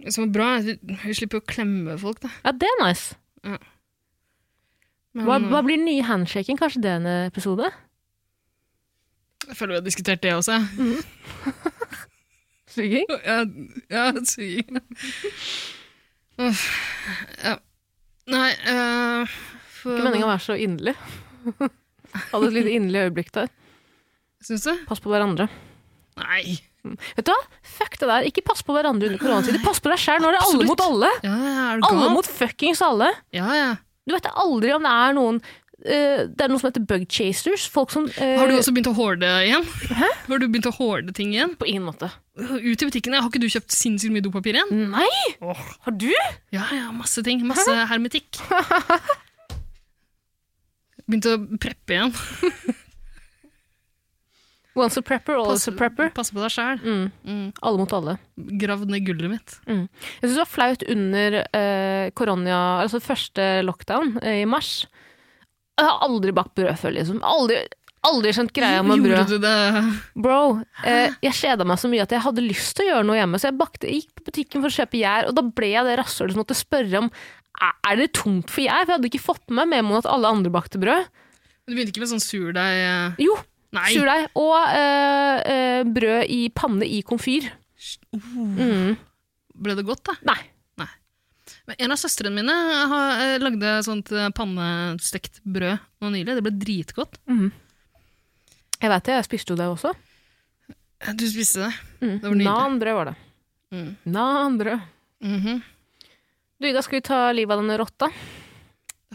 Speaker 3: Det som er bra, er at vi, vi slipper å klemme folk, da.
Speaker 2: Ja, det er nice.
Speaker 3: Men,
Speaker 2: Hva,
Speaker 3: eh,
Speaker 2: hva blir den nye handshaken? Kanskje det er en episode?
Speaker 3: Jeg føler vi har diskutert det også.
Speaker 2: Suging?
Speaker 3: Ja, ja suging. Uff, ja. Nei eh, for,
Speaker 2: Ikke meningen å være så inderlig. Hadde et lite inderlig øyeblikk der.
Speaker 3: Syns du?
Speaker 2: Pass på hverandre.
Speaker 3: Nei.
Speaker 2: Vet du hva? Fuck det der. Ikke pass på hverandre under koronatider. Pass på deg sjæl. Nå er det alle
Speaker 3: Absolutt.
Speaker 2: mot alle.
Speaker 3: Ja, ja, er du
Speaker 2: Alle
Speaker 3: gal?
Speaker 2: mot fuckings alle.
Speaker 3: Ja, ja.
Speaker 2: Du vet aldri om det er noen eh, Det er noe som heter bug chasers. Folk som eh,
Speaker 3: Har du også begynt å hoarde igjen? Har du begynt å hoarde ting igjen?
Speaker 2: På ingen måte.
Speaker 3: Ut i butikken, ja. Har ikke du kjøpt sinnssykt mye dopapir igjen?
Speaker 2: Nei! Har du?
Speaker 3: Ja, ja, masse ting. Masse hermetikk. Begynt å preppe igjen.
Speaker 2: Once a prepper, always a prepper.
Speaker 3: passe på deg sjæl.
Speaker 2: Mm.
Speaker 3: Mm.
Speaker 2: Alle mot alle.
Speaker 3: Gravd ned gullet mitt.
Speaker 2: Jeg syns det var flaut under eh, korona, altså første lockdown eh, i mars. Jeg har aldri bakt brød før, liksom. Aldri, aldri skjønt greia med brød.
Speaker 3: Gjorde du det?
Speaker 2: Bro, eh, jeg kjeda meg så mye at jeg hadde lyst til å gjøre noe hjemme, så jeg bakte, gikk på butikken for å kjøpe gjær, og da ble jeg det rasshølet som måtte spørre om "Er- er det tungt for gjær, for jeg hadde ikke fått med meg memoen at alle andre bakte brød.
Speaker 3: Du begynte ikke med sånn surdeig eh,
Speaker 2: Jo,
Speaker 3: Nei!
Speaker 2: surdeig, og eh, eh, brød i panne i komfyr.
Speaker 3: Oh,
Speaker 2: Mm.
Speaker 3: ble det godt, da?
Speaker 2: Nei.
Speaker 3: Men en av søstrene mine har, eh, lagde sånt eh, pannestekt brød nå nylig. Det ble dritgodt.
Speaker 2: Mhm. Jeg veit det, jeg spiste jo det også.
Speaker 3: Du spiste det.
Speaker 2: Mm.
Speaker 3: Det var nydelig.
Speaker 2: Nanbrød var det.
Speaker 3: Mm.
Speaker 2: Nanbrød.
Speaker 3: Mhm.
Speaker 2: Du, Ida, skal vi ta livet av denne rotta?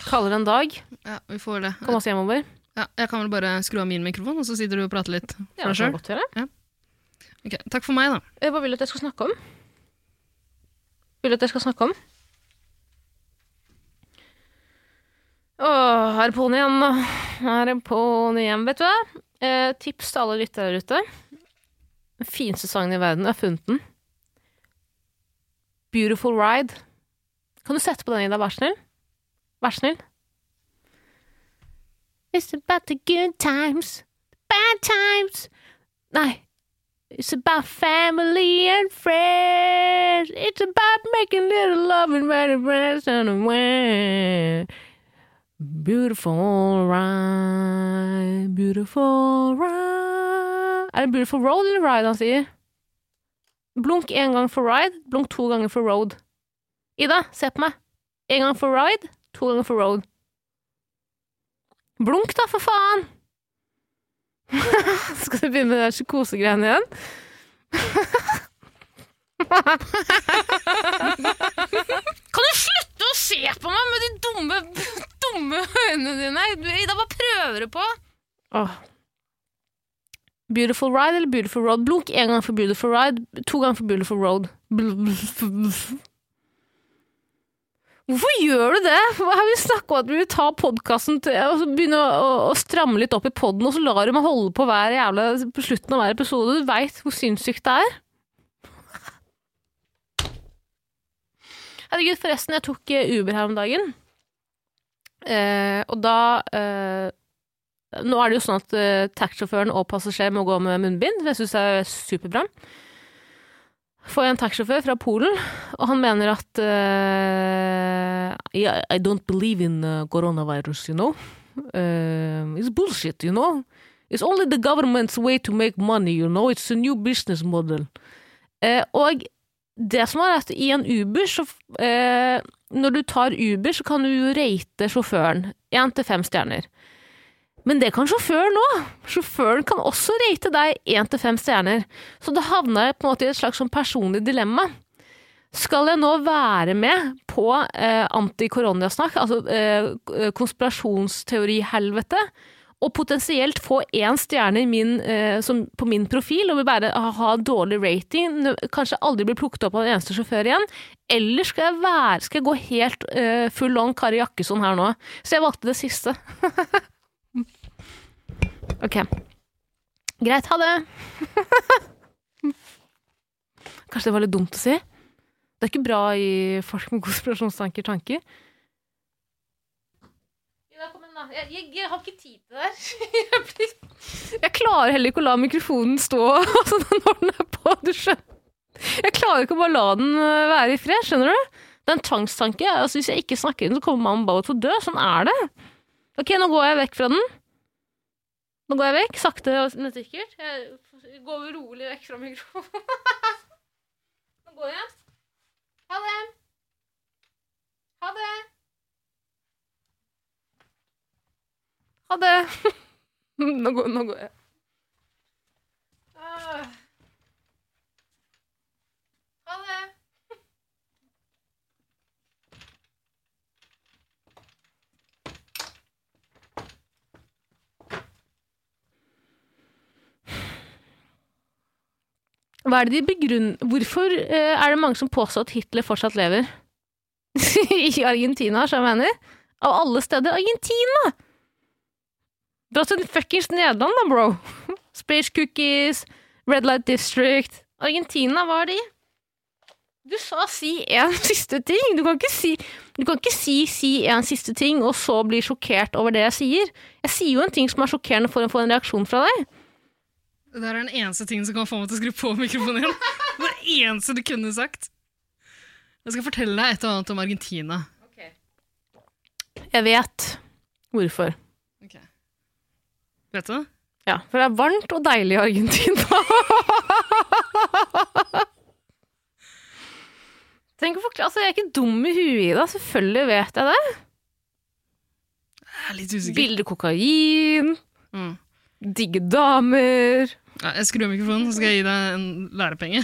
Speaker 2: Kaller det en dag.
Speaker 3: Ja, vi får det.
Speaker 2: Kom oss hjemover.
Speaker 3: Ja, jeg kan vel bare skru av min mikrofon, og så sitter du og prater litt for
Speaker 2: Ja,
Speaker 3: deg
Speaker 2: det kan
Speaker 3: sjøl.
Speaker 2: godt gjøre.
Speaker 3: takk for meg, da.
Speaker 2: Eh, Hva vil du at jeg skal snakke om? Vil du at jeg skal snakke om? Åh, er det på'n igjen, da? Er det på'n igjen, vet du hva? Eh, tips til alle lyttere der ute. Den fineste sangen i verden. Jeg har funnet den. Beautiful Ride. Kan du sette på den, Ida? Vær så snill. Vær så snill. It's about the good times, bad times Nei, It's about family and friends. It's about making little love and better friends and a way. Beautiful ride, beautiful ride Er det beautiful road eller ride han sier? Blunk én gang for ride, blunk to ganger for road. Ida, se på meg. Én gang for ride, to ganger for road. Blunk, da, for faen! Skal du begynne med de psykosegreiene igjen? Kan du slutte å se på meg med de dumme, dumme øynene dine? Du, Ida, hva prøver du på? Beautiful Ride eller Beautiful Road? Blunk én gang for Beautiful Ride, to ganger for Beautiful Road. Bl- bl- bl- bl- Hvorfor gjør du det? Hva har vi snakket om at vi vil ta podkasten til og så begynne å, å, å stramme litt opp i podden, og så lar du meg holde på hver jævla, på slutten av hver episode? Du veit hvor sinnssykt det er. Herregud, forresten, jeg tok eh, Uber her om dagen. Eh, og da eh, Nå er det jo sånn at eh, taxisjåføren og passasjer må gå med munnbind. Det syns jeg er superbra. Får jeg en taxisjåfør fra Polen, og han mener at eh, yeah, I don't believe in eh, coronavirus, you know. Eh, it's bullshit, you know. It's only the government's way to make money, you know. It's a new business model. Eh, og det som er at i en Uber, så eh, Når du tar Uber, så kan du jo rate sjåføren. Én til fem stjerner. Men det kan sjåføren òg! Sjåføren kan også rate deg én til fem stjerner. Så da havna jeg på en måte i et slags sånn personlig dilemma. Skal jeg nå være med på eh, anti-koronasnakk, altså eh, konspirasjonsteori-helvete, og potensielt få én stjerne i min, eh, som, på min profil og vil bare ha, ha dårlig rating, n- kanskje aldri bli plukket opp av en eneste sjåfør igjen, eller skal jeg, være, skal jeg gå helt eh, full on Kari Jakkesson her nå? Så jeg valgte det siste. ok. Greit, ha det! kanskje det var litt dumt å si? Det er ikke bra å gi folk med konspirasjonstanker tanker. Ida, kom igjen, da. Jeg, jeg, jeg har ikke tid til det her. Jeg, blir... jeg klarer heller ikke å la mikrofonen stå altså, når den er på. Du skjønner. Jeg klarer ikke å bare la den øh, være i fred, skjønner du? Det er en tvangstanke. Altså, hvis jeg ikke snakker i den, så kommer mamma bare til å dø. Sånn er det. Ok, nå går jeg vekk fra den. Nå går jeg vekk, sakte, og- men sikkert. Jeg går rolig vekk fra mikrofonen. nå går jeg. Ha det! Ha det! Ha det! nå, går, nå går jeg. Ah. Ha det! Hva er det de begrunner Hvorfor eh, er det mange som påstår at Hitler fortsatt lever? I Argentina, som jeg mener. Av alle steder. Argentina! Dra til fuckings Nederland, da, bro! Space Cookies, Red Light District Argentina, hva er de? Du sa si én siste ting! Du kan ikke si du kan ikke si si én siste ting, og så bli sjokkert over det jeg sier. Jeg sier jo en ting som er sjokkerende for å få en reaksjon fra deg.
Speaker 3: Det der er den eneste tingen som kan få meg til å skru på mikrofonen igjen. Det var det eneste du kunne sagt. Jeg skal fortelle deg et og annet om Argentina.
Speaker 2: Jeg vet hvorfor.
Speaker 3: Vet du det?
Speaker 2: Ja, for det er varmt og deilig i Argentina. Tenk å forklare, altså Jeg er ikke dum i huet i det. Selvfølgelig vet jeg det.
Speaker 3: Jeg er litt usikker.
Speaker 2: Bilder kokain,
Speaker 3: Mm.
Speaker 2: digge damer
Speaker 3: Ja, jeg skrur av mikrofonen, så skal jeg gi deg en lærepenge.